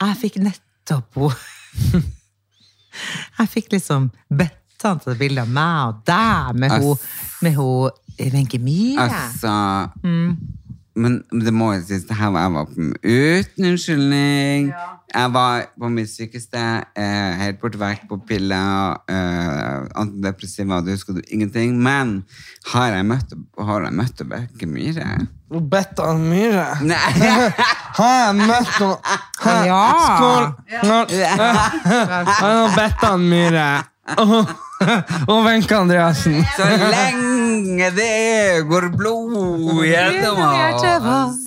[SPEAKER 2] Jeg fikk nettopp ho- Jeg fikk liksom bedt han til å ta bilde av meg og deg med ho- med ho eh, Wenche Myhre.
[SPEAKER 1] Altså Men det må jo sies, det her var jeg var på, uten unnskyldning. Jeg var på mitt sykeste, eh, helt borte vekk på piller, eh, antidepressiva, du husker du ingenting. Men har jeg møtt, har jeg møtt Bøkke Myhre?
[SPEAKER 3] Og Bettan Myhre?
[SPEAKER 1] Nei!
[SPEAKER 3] Har jeg møtt noen Har jeg-
[SPEAKER 1] Ja.
[SPEAKER 3] Skål! Nå- Har jeg nå bedt han Myhre og og Wenche Andreassen?
[SPEAKER 1] Så lenge det går blod gjennom oss.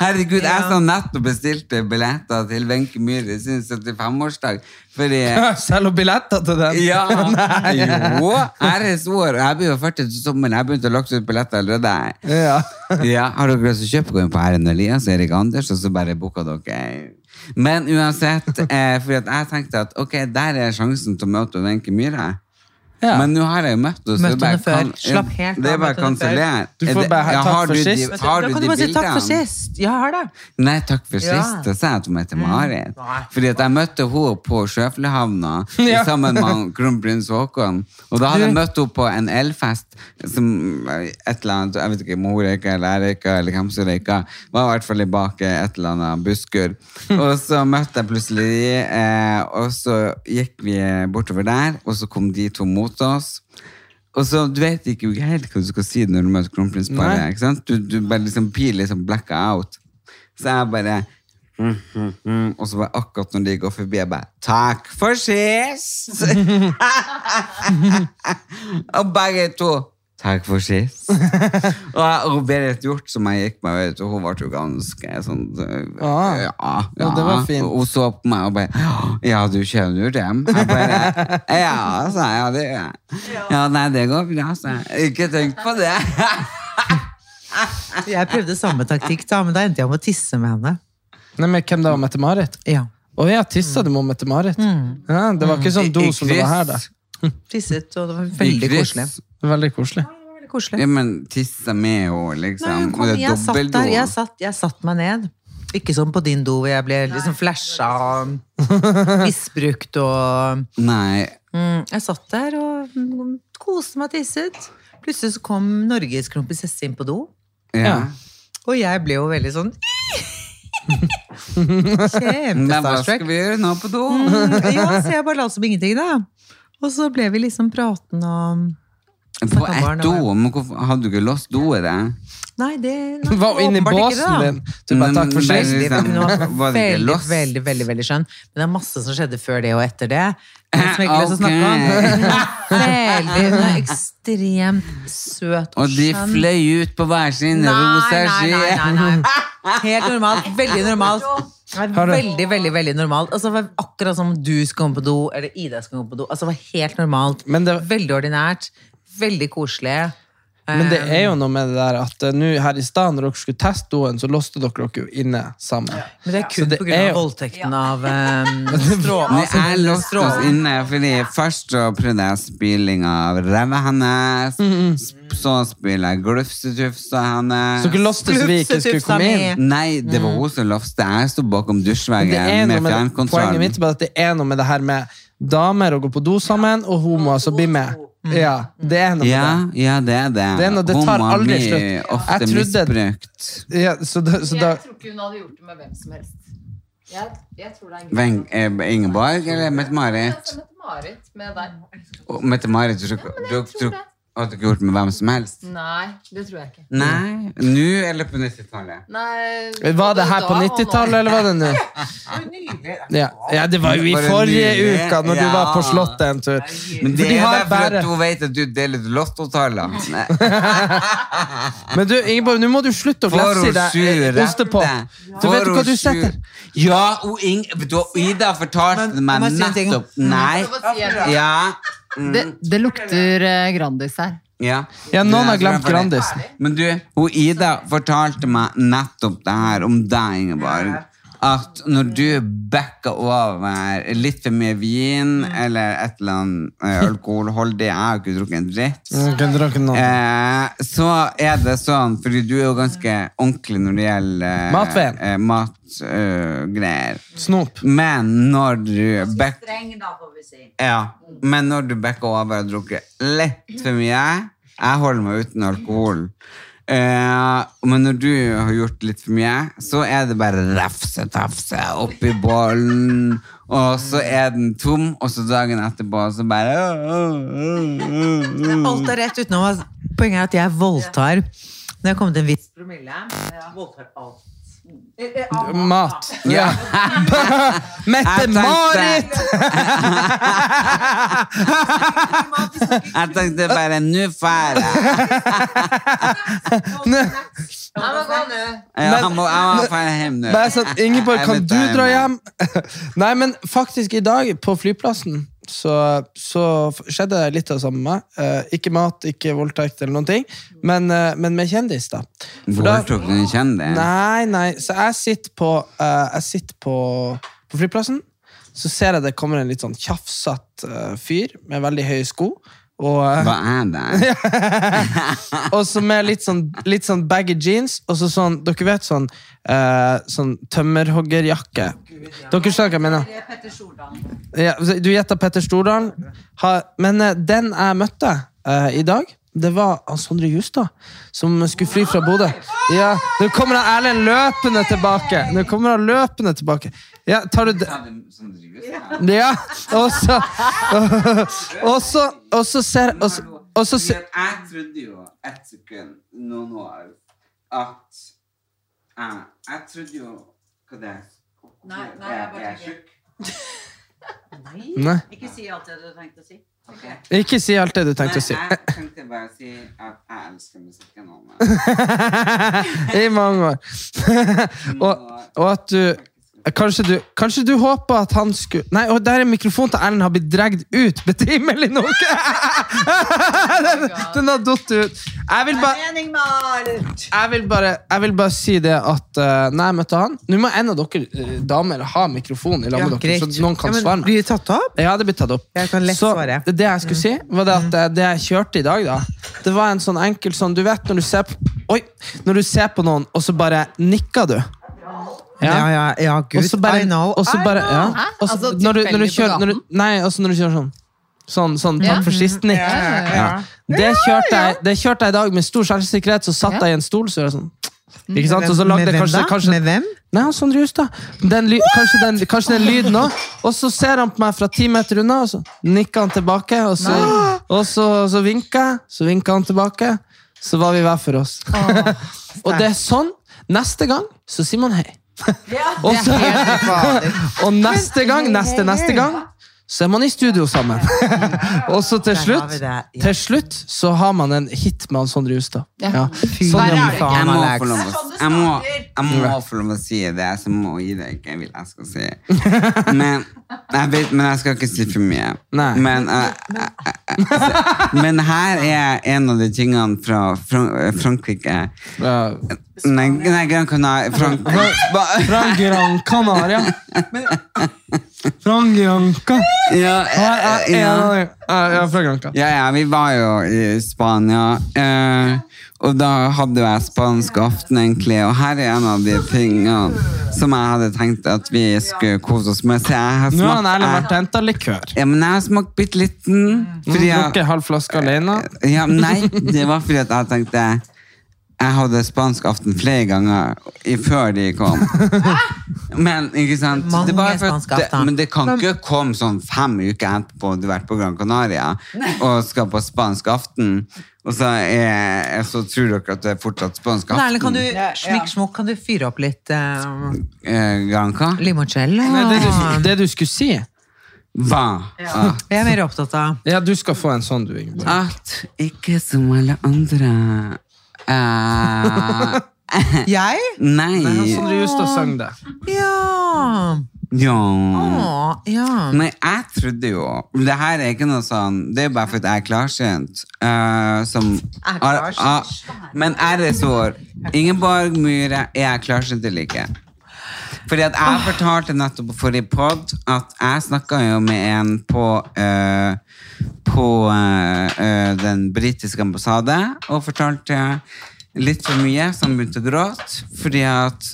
[SPEAKER 1] Herregud, jeg som nettopp bestilte billetter til Wenche Myhre sin 75-årsdag. Fordi
[SPEAKER 3] Selger billetter til den?
[SPEAKER 1] ja, jo, RS-år. Jeg blir jo 40 til sommeren. Jeg begynte å lage ut billetter allerede.
[SPEAKER 3] Ja.
[SPEAKER 1] Ja, har dere lyst til å kjøpe, gå inn på Erlend Elias og Erik Anders, og så bare booka dere. Men uansett, eh, fordi at jeg tenkte at ok, der er sjansen til å møte Wenche Myhre.
[SPEAKER 3] Ja.
[SPEAKER 1] Men nå har jeg jo møtt henne. så
[SPEAKER 2] Møtt
[SPEAKER 1] det er bare kan-
[SPEAKER 2] henne før. Slapp helt av,
[SPEAKER 1] Det er bare
[SPEAKER 2] møtt henne før.
[SPEAKER 1] kansellert.
[SPEAKER 3] Du
[SPEAKER 1] Er
[SPEAKER 3] får
[SPEAKER 1] det-
[SPEAKER 3] bare ha-
[SPEAKER 1] ja,
[SPEAKER 3] takk
[SPEAKER 1] har du
[SPEAKER 3] for
[SPEAKER 1] de-
[SPEAKER 3] sist.
[SPEAKER 1] Har
[SPEAKER 2] da
[SPEAKER 1] du de
[SPEAKER 2] kan du bare si takk for
[SPEAKER 1] bildene?
[SPEAKER 2] sist. Ja, jeg har det.
[SPEAKER 1] Nei, takk for sist.
[SPEAKER 2] Ja.
[SPEAKER 1] Da sa jeg at hun heter Marit. Fordi at jeg møtte henne på Sjøflehavna
[SPEAKER 3] Ja.
[SPEAKER 1] sammen med kronprins Haakon. Og da hadde jeg møtt henne på en elfest som eh, et eller annet, jeg vet ikke om hun røyka eller jeg røyka, eller hvem som røyka. Var i hvert fall i bak et eller annet busskur. Og så møtte jeg plutselig de, eh, og så gikk vi bortover der, og så kom de to mot oss. Og så Du vet ikke helt hva du skal si når du møter kronprinsparet.
[SPEAKER 3] Nei.
[SPEAKER 1] ikke sant? Du, du bare liksom blir liksom blacka out. Så jeg bare mm, mm, mm, Og så bare akkurat når de går forbi, jeg bare 'Takk for sist!' og begge to 'Takk for sist'. og, jeg- og Berit Hjort, som jeg gikk med, vet, du, hun ble jo ganske sånn øh,
[SPEAKER 3] Ah.
[SPEAKER 1] ja,
[SPEAKER 3] Ja, det var fint.
[SPEAKER 1] Og hun så på meg og bare Ja, du kjenner jo dem. Jeg bare, ja, sa jeg. Ja, det gjør jeg. Ja, nei, det går bra, sa jeg. Ikke tenk på det.
[SPEAKER 2] Jeg prøvde samme taktikk, da, men da endte jeg med å tisse med henne.
[SPEAKER 3] Nei, men Hvem da? Mette-Marit?
[SPEAKER 2] Ja.
[SPEAKER 3] Å ja, tissa du med Mette-Marit?
[SPEAKER 2] Mm.
[SPEAKER 3] Ja, det var ikke sånn do som det var her, da.
[SPEAKER 2] Tisset, og det var veldig
[SPEAKER 1] Chris.
[SPEAKER 2] koselig.
[SPEAKER 3] Veldig koselig.
[SPEAKER 2] Veldig koselig.
[SPEAKER 1] Ja, men tissa med henne, liksom.
[SPEAKER 2] Nei, hun kom,
[SPEAKER 1] og det er
[SPEAKER 2] jeg, satt
[SPEAKER 1] dobbeltdo.
[SPEAKER 2] der, jeg, satt, jeg satt meg ned. Ikke som på din do, hvor jeg ble liksom flasha og misbrukt og
[SPEAKER 1] Nei.
[SPEAKER 2] mm, Jeg satt der og mm, koste meg og tisset. Plutselig så kom Norges kronprinsesse inn på do,
[SPEAKER 1] Ja.
[SPEAKER 3] Ja.
[SPEAKER 2] og jeg ble jo veldig sånn
[SPEAKER 1] Men hva
[SPEAKER 2] Kjempestarstruck.
[SPEAKER 1] skal vi gjøre nå på do?
[SPEAKER 2] Mm. Ja, så jeg bare la som ingenting, da. Og så ble vi liksom praten om
[SPEAKER 1] På ett do? Men hvorfor hadde du ikke låst doet? da?
[SPEAKER 2] Nei, det nei,
[SPEAKER 3] Var
[SPEAKER 2] det
[SPEAKER 3] inne i
[SPEAKER 2] åpenbart ikke det, da. Mm,
[SPEAKER 3] båsen din. Du bare
[SPEAKER 1] Men-
[SPEAKER 3] takk for
[SPEAKER 1] men-
[SPEAKER 3] sist.
[SPEAKER 2] Veldig,
[SPEAKER 1] liksom, var det ikke
[SPEAKER 2] sånn, veldig,
[SPEAKER 1] loss?
[SPEAKER 2] veldig, veldig, veldig skjønn. Men det er masse som skjedde før det og etter det. Men Som jeg ikke har lyst til å snakke om. Veldig, hun er ekstremt søt og
[SPEAKER 1] Og de
[SPEAKER 2] skjønn.
[SPEAKER 1] fløy ut på hver sin
[SPEAKER 2] Nei,
[SPEAKER 1] rosa
[SPEAKER 2] nei,
[SPEAKER 1] ski.
[SPEAKER 2] nei, nei, nei. Helt normalt. Veldig normalt. Nei, Veldig, veldig veldig normalt. Altså, det var akkurat som du skal komme på do, eller Ida skal komme på do. Altså, det var helt normalt.
[SPEAKER 3] Men det-
[SPEAKER 2] Veldig ordinært. Veldig koselig.
[SPEAKER 3] Men det er jo noe med det der at eh, nå her i stad, når dere skulle teste doen, så låste dere dere jo inne sammen.
[SPEAKER 2] Men det er kun
[SPEAKER 3] Så det
[SPEAKER 2] på grunn
[SPEAKER 3] er
[SPEAKER 2] av
[SPEAKER 3] jo-
[SPEAKER 2] voldtekten av eh, strå...
[SPEAKER 1] Men
[SPEAKER 3] Altså,
[SPEAKER 1] jeg låste oss inne, fordi først så prøvde jeg spilling av ræva hennes.
[SPEAKER 3] Mm,
[SPEAKER 1] sp- Så spiller jeg glufsetufsa hennes.
[SPEAKER 3] Så dere låste så vi ikke skulle komme inn. Mm.
[SPEAKER 1] Nei, det var hun som loftet. Jeg sto bakom
[SPEAKER 3] Det er
[SPEAKER 1] dusjveggen
[SPEAKER 3] noe
[SPEAKER 1] med
[SPEAKER 3] med, poenget
[SPEAKER 1] fjernkontrollen.
[SPEAKER 3] mitt er bare at det er noe med det her med damer og gå på do sammen, og homo altså bli med. Ja, det er noe med det.
[SPEAKER 1] Ja, ja, det er det.
[SPEAKER 3] Det er noe- det tar
[SPEAKER 1] Homoer
[SPEAKER 3] aldri
[SPEAKER 1] blir
[SPEAKER 3] slutt.
[SPEAKER 1] ofte
[SPEAKER 3] Jeg trodde-
[SPEAKER 1] misbrukt.
[SPEAKER 3] Ja, så da, så da,
[SPEAKER 5] tror ikke hun hadde gjort det med hvem som helst. Jeg, tror det er
[SPEAKER 1] Veng- eh, Ingeborg eller Mette-Marit?
[SPEAKER 5] Marit med deg.
[SPEAKER 1] Og Mette-Marit du, du, du, du, hadde ikke gjort med hvem som helst?
[SPEAKER 5] Nei, det tror jeg ikke.
[SPEAKER 1] Nei.
[SPEAKER 3] Mm.
[SPEAKER 1] Nå eller på 90-tallet?
[SPEAKER 5] Nei,
[SPEAKER 3] var det her på 90-tallet, eller var det nå? Ja. ja, det var jo i
[SPEAKER 1] Var det
[SPEAKER 3] forrige
[SPEAKER 1] nylig?
[SPEAKER 3] uka, når du
[SPEAKER 1] Ja.
[SPEAKER 3] var på Slottet en tur.
[SPEAKER 1] Men
[SPEAKER 3] For
[SPEAKER 1] det
[SPEAKER 3] de
[SPEAKER 1] er
[SPEAKER 3] har
[SPEAKER 1] derfor
[SPEAKER 3] bare-
[SPEAKER 1] at hun vet at du deler ut lottotallene. Nei.
[SPEAKER 3] Men du, Ingeborg, nå må du slutte å
[SPEAKER 1] Får
[SPEAKER 3] glefse i
[SPEAKER 1] hun sju
[SPEAKER 3] deg
[SPEAKER 1] rette?
[SPEAKER 3] ostepop. eh, Du vet jo hva du
[SPEAKER 1] sju-
[SPEAKER 3] setter.
[SPEAKER 1] Ja, og Ing- vet du hva, Ida fortalte meg
[SPEAKER 2] må jeg si en ting?
[SPEAKER 1] nettopp Nei. Ja. Mm,
[SPEAKER 5] Det, det lukter eh, Grandis her.
[SPEAKER 1] ja.
[SPEAKER 3] Ja, noen har
[SPEAKER 1] Det er
[SPEAKER 3] glemt
[SPEAKER 1] for det.
[SPEAKER 3] Grandis.
[SPEAKER 1] Men du, hun Ida fortalte meg nettopp det her om deg, Ingeborg. At når du backer over litt for mye vin
[SPEAKER 3] Mm.
[SPEAKER 1] eller et eller annet eh, alkoholholdig Jeg har jo ikke drukket en dritt. Eh, så er det sånn, fordi du er jo ganske ordentlig når det gjelder eh,
[SPEAKER 3] Matveien.
[SPEAKER 1] Eh, Matgreier.
[SPEAKER 3] Snop.
[SPEAKER 1] men når du back,
[SPEAKER 6] Streng, da, får vi si.
[SPEAKER 1] ja, Men når du backer over og drukker litt for mye Jeg holder meg uten alkohol. Eh, men når du har gjort litt for mye, så er det bare rafse-tafse oppi bollen. Og så er den tom, og så dagen etterpå så bare
[SPEAKER 2] Alt er rett utenom. altså. Poenget er at jeg voldtar. Når jeg kom til en viss promille, voldtar alt.
[SPEAKER 3] Mat.
[SPEAKER 1] Ja.
[SPEAKER 3] Mette-Marit!
[SPEAKER 1] Jeg tenkte bare Nå drar jeg. Ja, Han må, han må dra hjem nå.
[SPEAKER 3] Nei, sånn, Ingeborg,
[SPEAKER 1] Jeg
[SPEAKER 3] kan
[SPEAKER 1] vet
[SPEAKER 3] du
[SPEAKER 1] det,
[SPEAKER 3] dra
[SPEAKER 1] men-
[SPEAKER 3] hjem? Nei, men faktisk i dag på flyplassen så, så f- skjedde det litt av det samme med meg. Eh, ikke mat, ikke voldtekt eller noen ting, men, eh, men med kjendis, da. For da
[SPEAKER 1] Voldtok du en kjendis?
[SPEAKER 3] nei, nei, så jeg sitter på, eh, jeg sitter på, på flyplassen, så ser jeg det kommer en litt sånn tjafsatt eh, fyr med veldig høye sko. Og, eh,
[SPEAKER 1] Hva er det?
[SPEAKER 3] og så med litt sånn, litt sånn baggy jeans, og så sånn, dere vet sånn, eh, sånn tømmerhoggerjakke. Dere skjønner hva jeg mener? Ja, så du gjetter Petter Stordalen. Ha- Men eh, den jeg møtte eh, i dag, det var han Sondre Justad, som skulle fly fra Bodø. Ja, nå kommer han Erlend løpende tilbake! Nå kommer han løpende tilbake. Ja, tar du... d- Ja, og så... Og så, og så ser... Og så, og så ser
[SPEAKER 1] Jeg trodde jo et sekund, noen år, at jeg, jeg trodde jo Hva det er? Nei, nei, jeg bare
[SPEAKER 3] Nei.
[SPEAKER 6] Ikke si alt det du tenkte å si.
[SPEAKER 3] Ikke si alt det du tenkte å si.
[SPEAKER 1] Jeg tenkte bare å si at jeg elsker musikken hans.
[SPEAKER 3] I mange år. og, og at du Kanskje du, kanskje du håper at han skulle Nei, og der er mikrofonen til Ellen har blitt dregt ut betimelig nok! den, den har datt ut. Jeg vil bare
[SPEAKER 6] Mening med alt!
[SPEAKER 3] jeg vil bare, jeg vil bare si det at eh, Når jeg møtte han Nå må en av dere eh, damer ha mikrofon i lag med dere, så noen kan
[SPEAKER 2] Ja, men
[SPEAKER 3] svare meg.
[SPEAKER 2] Blir du tatt opp?
[SPEAKER 3] Ja, det blir tatt opp.
[SPEAKER 2] Jeg kan lett
[SPEAKER 3] så
[SPEAKER 2] svare. Mm.
[SPEAKER 3] det jeg skulle si, var det at eh, det jeg kjørte i dag, da, det var en sånn enkel sånn Du vet når du ser på, oi, når du ser på noen, og så bare nikker du.
[SPEAKER 2] Ja, ja, ja
[SPEAKER 3] Og
[SPEAKER 2] gud.
[SPEAKER 3] så
[SPEAKER 2] I
[SPEAKER 3] bare,
[SPEAKER 2] know.
[SPEAKER 3] og så
[SPEAKER 2] I
[SPEAKER 3] bare
[SPEAKER 2] know.
[SPEAKER 3] ja.
[SPEAKER 5] Hæ?
[SPEAKER 3] og så-
[SPEAKER 5] Altså,
[SPEAKER 3] når, du, når du
[SPEAKER 5] tilfeldig på
[SPEAKER 3] kjører når du,
[SPEAKER 5] gaten?
[SPEAKER 3] Nei, også når du kjører sånn. Sånn, sånn takk
[SPEAKER 5] Ja.
[SPEAKER 3] for sist, Nick. Det kjørte jeg det kjørte jeg i dag med stor selvsikkerhet. Så satt
[SPEAKER 5] Ja.
[SPEAKER 3] jeg i en stol, så gjør jeg sånn. Ikke sant? Og så lagde
[SPEAKER 2] Med
[SPEAKER 3] jeg
[SPEAKER 2] Mm. hvem
[SPEAKER 3] kanskje,
[SPEAKER 2] da?
[SPEAKER 3] kanskje
[SPEAKER 2] Med hvem?
[SPEAKER 3] Nei, han Sondre Justad. Den ly- Kanskje, den- kanskje den lyden òg. Og så ser han på meg fra ti meter unna, og så nikker han tilbake. Og så, og så, så vinker jeg, så vinker han tilbake. Så var vi hver for oss. og det er sånn. Neste gang så sier man hei. og, så, og neste gang, neste, neste gang, så er man i studio sammen. og så
[SPEAKER 2] Der
[SPEAKER 3] til
[SPEAKER 2] har vi
[SPEAKER 3] slutt,
[SPEAKER 2] det, ja.
[SPEAKER 3] til slutt så har man en hit med han Sondre Justad.
[SPEAKER 5] Ja.
[SPEAKER 3] Sånn
[SPEAKER 5] Verre
[SPEAKER 3] er
[SPEAKER 5] er det
[SPEAKER 3] man
[SPEAKER 5] ikke.
[SPEAKER 3] faen.
[SPEAKER 1] Jeg må
[SPEAKER 2] Alex.
[SPEAKER 1] få lov å, jeg må, jeg må få lov å si det, så må jeg gi deg ikke jeg vil jeg skal si. Men jeg, vet, men jeg skal ikke si for mye.
[SPEAKER 3] Nei.
[SPEAKER 1] Men, eh, eh, eh, eh, men her er en av de tingene fra Fran- eh, Frankrike
[SPEAKER 3] Ja.
[SPEAKER 1] Nei, nei Gran Canaria Frank Ba-
[SPEAKER 3] Fra Gran Canaria. Fra Granca.
[SPEAKER 1] ja, eh, ja.
[SPEAKER 3] Ja, fra Granca.
[SPEAKER 1] ja, ja, vi var jo i Spania, eh, og da hadde jo jeg spansk aften, egentlig. Og her er en av de tingene som jeg hadde tenkt at vi skulle kose oss med. Så jeg har
[SPEAKER 3] Nå har han Erlend
[SPEAKER 1] smakt
[SPEAKER 3] vært og henta likør.
[SPEAKER 1] Ja, men jeg har smakt bitte liten. Fordi
[SPEAKER 3] Drukket
[SPEAKER 1] jeg,
[SPEAKER 3] halv flaske alene.
[SPEAKER 1] ja, nei, det var fordi at jeg tenkte Jeg hadde spansk aften flere ganger i, før de kom. Men ikke sant?
[SPEAKER 2] Mange
[SPEAKER 1] var for at
[SPEAKER 2] spansk aften.
[SPEAKER 1] det, men det kan ikke komme sånn fem uker etterpå du har vært på Gran Canaria og skal på spansk aften, og så, er, så tror dere at det er fortsatt spansk
[SPEAKER 2] Men Erlend,
[SPEAKER 1] aften.
[SPEAKER 2] kan du, slik smokk, kan du fyre opp litt uh,
[SPEAKER 1] Eh, Granca?
[SPEAKER 2] limoncello?
[SPEAKER 3] Nei, det, du, det du skulle si
[SPEAKER 1] Hva? Ah.
[SPEAKER 2] Jeg er mer opptatt av
[SPEAKER 3] Ja, du skal få en sånn, du, Ingeborg.
[SPEAKER 1] At ikke som alle andre eh,
[SPEAKER 2] Jeg?
[SPEAKER 1] Nei. altså-
[SPEAKER 3] Sondre Justad sang det.
[SPEAKER 2] Ja.
[SPEAKER 1] Ja.
[SPEAKER 2] Å, ja.
[SPEAKER 1] Men jeg trodde jo Det her er ikke noe sånn Det er bare fordi jeg er klarsynt. eh, som,
[SPEAKER 2] Er klarsynt?
[SPEAKER 1] Ah, men RS-år Ingeborg Myhre, er jeg klarsynt eller ikke? Fordi at jeg fortalte nettopp på forrige pod at jeg snakka jo med en på eh, På eh, eh, den britiske ambassade og fortalte litt for mye, så han begynte å gråte. Fordi at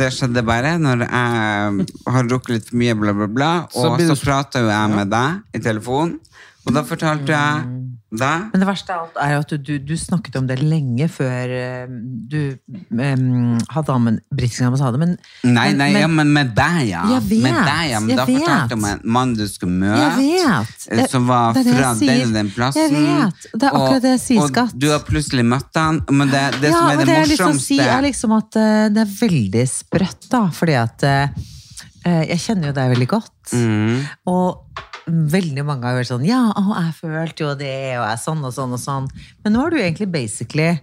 [SPEAKER 1] det skjedde bare når jeg har drukket litt for mye, bla, bla, bla.
[SPEAKER 3] Så
[SPEAKER 1] Og
[SPEAKER 3] blir
[SPEAKER 1] så
[SPEAKER 3] du- Mm.
[SPEAKER 1] prata jo jeg med deg i telefonen, og da fortalte jeg Da?
[SPEAKER 2] Men det verste av alt er jo at du, du, du snakket om det lenge før eh, du um, hadde ham en britisk ambassade, men
[SPEAKER 1] Nei, nei,
[SPEAKER 2] men-
[SPEAKER 1] ja, men med deg, ja.
[SPEAKER 2] Jeg vet,
[SPEAKER 1] Med deg, ja. Men
[SPEAKER 2] jeg
[SPEAKER 1] da
[SPEAKER 2] vet.
[SPEAKER 1] fortalte jeg om en mann du skulle møte.
[SPEAKER 2] Jeg vet.
[SPEAKER 1] eh, Som var
[SPEAKER 2] Det er det jeg
[SPEAKER 1] fra
[SPEAKER 2] sier.
[SPEAKER 1] den og den plassen.
[SPEAKER 2] Jeg vet. Det er akkurat det jeg sier,
[SPEAKER 1] og,
[SPEAKER 2] skatt.
[SPEAKER 1] Og du har plutselig møtt han. Men det, det som er det,
[SPEAKER 2] men jeg har lyst til å
[SPEAKER 1] morsomste
[SPEAKER 2] si er liksom at eh, det er veldig sprøtt, da. Fordi at eh, eh, jeg kjenner jo deg veldig godt.
[SPEAKER 1] Mm.
[SPEAKER 2] Og veldig mange har vært sånn Ja, å, jeg følte jo det, og jeg er sånn og sånn og sånn. Men nå er du egentlig basically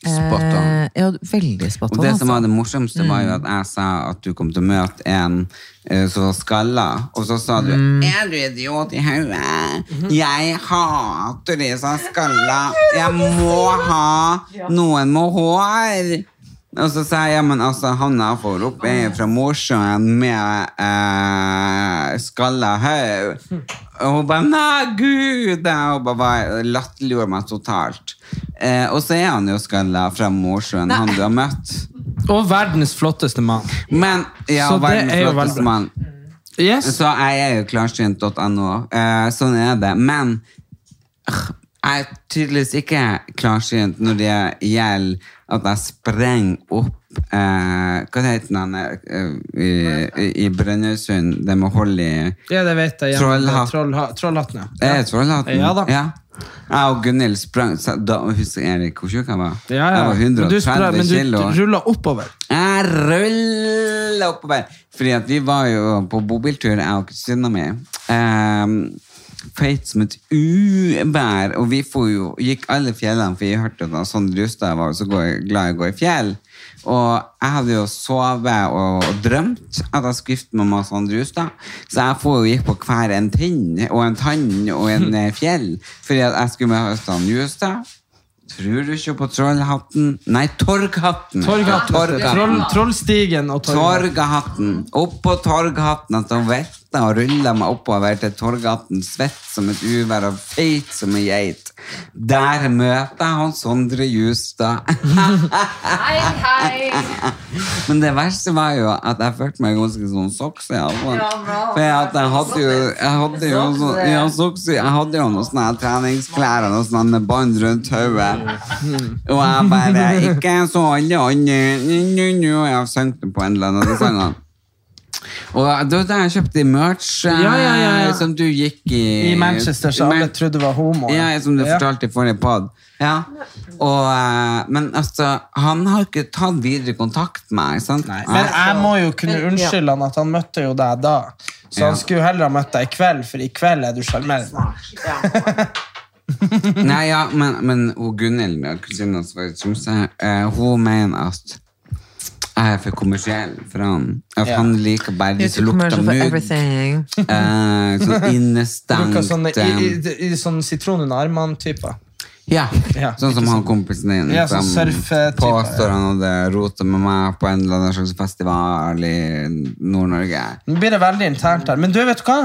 [SPEAKER 1] Spot on.
[SPEAKER 2] eh, Ja, veldig spot
[SPEAKER 1] Og
[SPEAKER 2] on.
[SPEAKER 1] det som var
[SPEAKER 2] altså.
[SPEAKER 1] det morsomste, var jo at jeg sa at du kom til å møte en eh, som var skalla, og så sa du Er du idiot i hodet? Jeg hater de som er skalla. Jeg må ha noen med hår. Og så sa jeg ja, men altså, han jeg får opp, er jo fra Mosjøen med eh, skalla hode. Og hun bare 'nei, gud'! Og bare, bare latterliggjorde meg totalt. Eh, og så er han jo skalla fra Mosjøen, han du har møtt.
[SPEAKER 3] Og verdens flotteste mann.
[SPEAKER 1] Men ja,
[SPEAKER 3] Så det
[SPEAKER 1] verdens
[SPEAKER 3] er jo
[SPEAKER 1] flotteste
[SPEAKER 3] veldig-
[SPEAKER 1] mann.
[SPEAKER 3] Yes.
[SPEAKER 1] Så jeg er jo klarsynt.no. Eh, sånn er det. Men øh, jeg er tydeligvis ikke klarsynt når det gjelder at jeg sprenger opp eh, Hva heter den eh, i, i, i Brønnøysund? Det med hold i
[SPEAKER 3] Ja, det vet jeg.
[SPEAKER 1] Trollhatt.
[SPEAKER 3] Trollhatt. Trollhatten,
[SPEAKER 1] Er det Trollhatten?
[SPEAKER 3] Ja da.
[SPEAKER 1] Jeg og Gunhild sprang så da, Husker Erik hvor tjukk jeg var?
[SPEAKER 3] Ja, ja.
[SPEAKER 1] Jeg
[SPEAKER 3] Men
[SPEAKER 1] var
[SPEAKER 3] du, sprang-
[SPEAKER 1] 130
[SPEAKER 3] men
[SPEAKER 1] kilo.
[SPEAKER 3] du rulla oppover.
[SPEAKER 1] Jeg ruller oppover. Fordi at vi var jo på bobiltur, jeg og kusina mi. Ehm, Feit som et uvær. Og vi for jo, gikk alle fjellene, for jeg hørte at sånn rusta jeg var, så går jeg, glad i å gå i fjell. Og jeg hadde jo sovet og drømt at jeg skulle gifte meg med Sondre Justad. Så jeg for jo gikk på hver en tind og en tann og en eh, fjell. Fordi at jeg skulle med Sondre Justad. Tror du ikke på trollhatten? Nei, torghatten.
[SPEAKER 3] Torghatten. Troll, trollstigen og torghatten.
[SPEAKER 1] Torghatten. Opp på Torghatten at hun velta og rulla meg oppover til Torghatten, svett som et uvær og feit som ei geit. Der møter jeg han Sondre Justad.
[SPEAKER 5] Hei, hei!
[SPEAKER 1] Men det verste var jo at jeg følte meg ganske sånn soksy. Altså. For jeg, at jeg hadde jo Jeg hadde jo sånn, ja, soksy. Jeg hadde jo noen sånne her treningsklær og noen sånne bånd rundt hodet. Og jeg bare Ikke så alle andre nu, nu, Og jeg sang det på en eller annen av de sangene. Og det var da jeg kjøpte merch eh,
[SPEAKER 3] Ja, ja, ja, ja.
[SPEAKER 1] som du gikk i
[SPEAKER 3] I Manchester, så alle
[SPEAKER 1] Men-
[SPEAKER 3] trodde du var homo.
[SPEAKER 1] ja, som du fortalte i forrige pod. Ja. Og, eh, men altså, han har ikke tatt videre kontakt med meg. Sant?
[SPEAKER 3] Men jeg må jo kunne unnskylde han at han møtte jo deg da. Så han skulle jo heller ha møtt deg i kveld, for i kveld er du sjarmerende.
[SPEAKER 1] Nei, ja, men, men hun Gunhild, ja, kusina hans var i Tromsø, eh, hun mener at jeg er for kommersiell for han. At
[SPEAKER 3] Ja.
[SPEAKER 1] han liker bare de som lukter
[SPEAKER 2] Commercial for
[SPEAKER 1] mugg.
[SPEAKER 2] everything.
[SPEAKER 1] Eh, sånn innestengt.
[SPEAKER 3] Bruker sånne, i, i,
[SPEAKER 1] eh,
[SPEAKER 3] i, sånn sitron under armene-typer.
[SPEAKER 1] ja.
[SPEAKER 3] Ja,
[SPEAKER 1] Sånn som han kompisen din.
[SPEAKER 3] Ja, sånn
[SPEAKER 1] som
[SPEAKER 3] surfe-type,
[SPEAKER 1] påstår han hadde rotet med meg på en eller annen slags festival i Nord-Norge.
[SPEAKER 3] Nå blir det veldig internt her. Men du, vet du hva?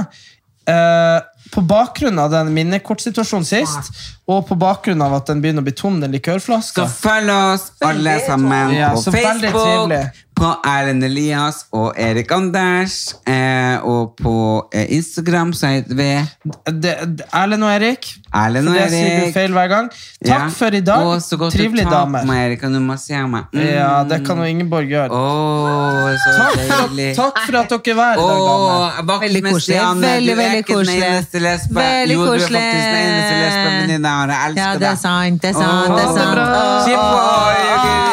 [SPEAKER 3] Eh, på bakgrunn av den minnekortsituasjonen sist, og på bakgrunn av at den begynner å bli tom, den likørflaska
[SPEAKER 1] Så følg oss alle sammen
[SPEAKER 3] Ja,
[SPEAKER 1] på
[SPEAKER 3] så veldig
[SPEAKER 1] Facebook,
[SPEAKER 3] trivelig.
[SPEAKER 1] på Erlend Elias og Erik Anders, eh, og på eh, Instagram så heter vi
[SPEAKER 3] Det- det- Erlend og Erik.
[SPEAKER 1] Erlend
[SPEAKER 3] for
[SPEAKER 1] og
[SPEAKER 3] det sier
[SPEAKER 1] Erik.
[SPEAKER 3] du feil hver gang. Takk
[SPEAKER 1] Ja.
[SPEAKER 3] for i dag.
[SPEAKER 1] Og så godt du
[SPEAKER 3] Trivelige
[SPEAKER 1] tar
[SPEAKER 3] damer.
[SPEAKER 1] på meg, Erik, og du masserer meg. Mm.
[SPEAKER 3] Ja, det kan jo Ingeborg gjøre.
[SPEAKER 1] Åh, så
[SPEAKER 3] Takk for,
[SPEAKER 1] deilig.
[SPEAKER 3] at- takk for at dere var her i dag, damer.
[SPEAKER 1] Åh, vaktmester Janne,
[SPEAKER 2] Veldig,
[SPEAKER 1] du er
[SPEAKER 2] veldig
[SPEAKER 1] ikke den
[SPEAKER 2] koselig.
[SPEAKER 1] eneste lesben.
[SPEAKER 2] Veldig
[SPEAKER 1] Jo, du er faktisk
[SPEAKER 2] koselig.
[SPEAKER 1] den eneste lesben, venninne, og jeg elsker
[SPEAKER 2] Ja, det er
[SPEAKER 1] deg.
[SPEAKER 2] sant, det er sant. det er
[SPEAKER 1] Åh,
[SPEAKER 2] sant. Åh,
[SPEAKER 1] Skip
[SPEAKER 2] åh,
[SPEAKER 1] ohoi, Guri.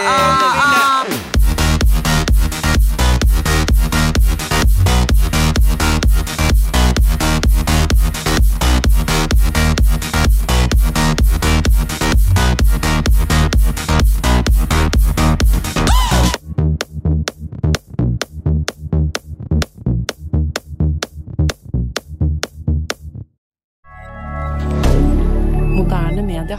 [SPEAKER 7] Moderne media.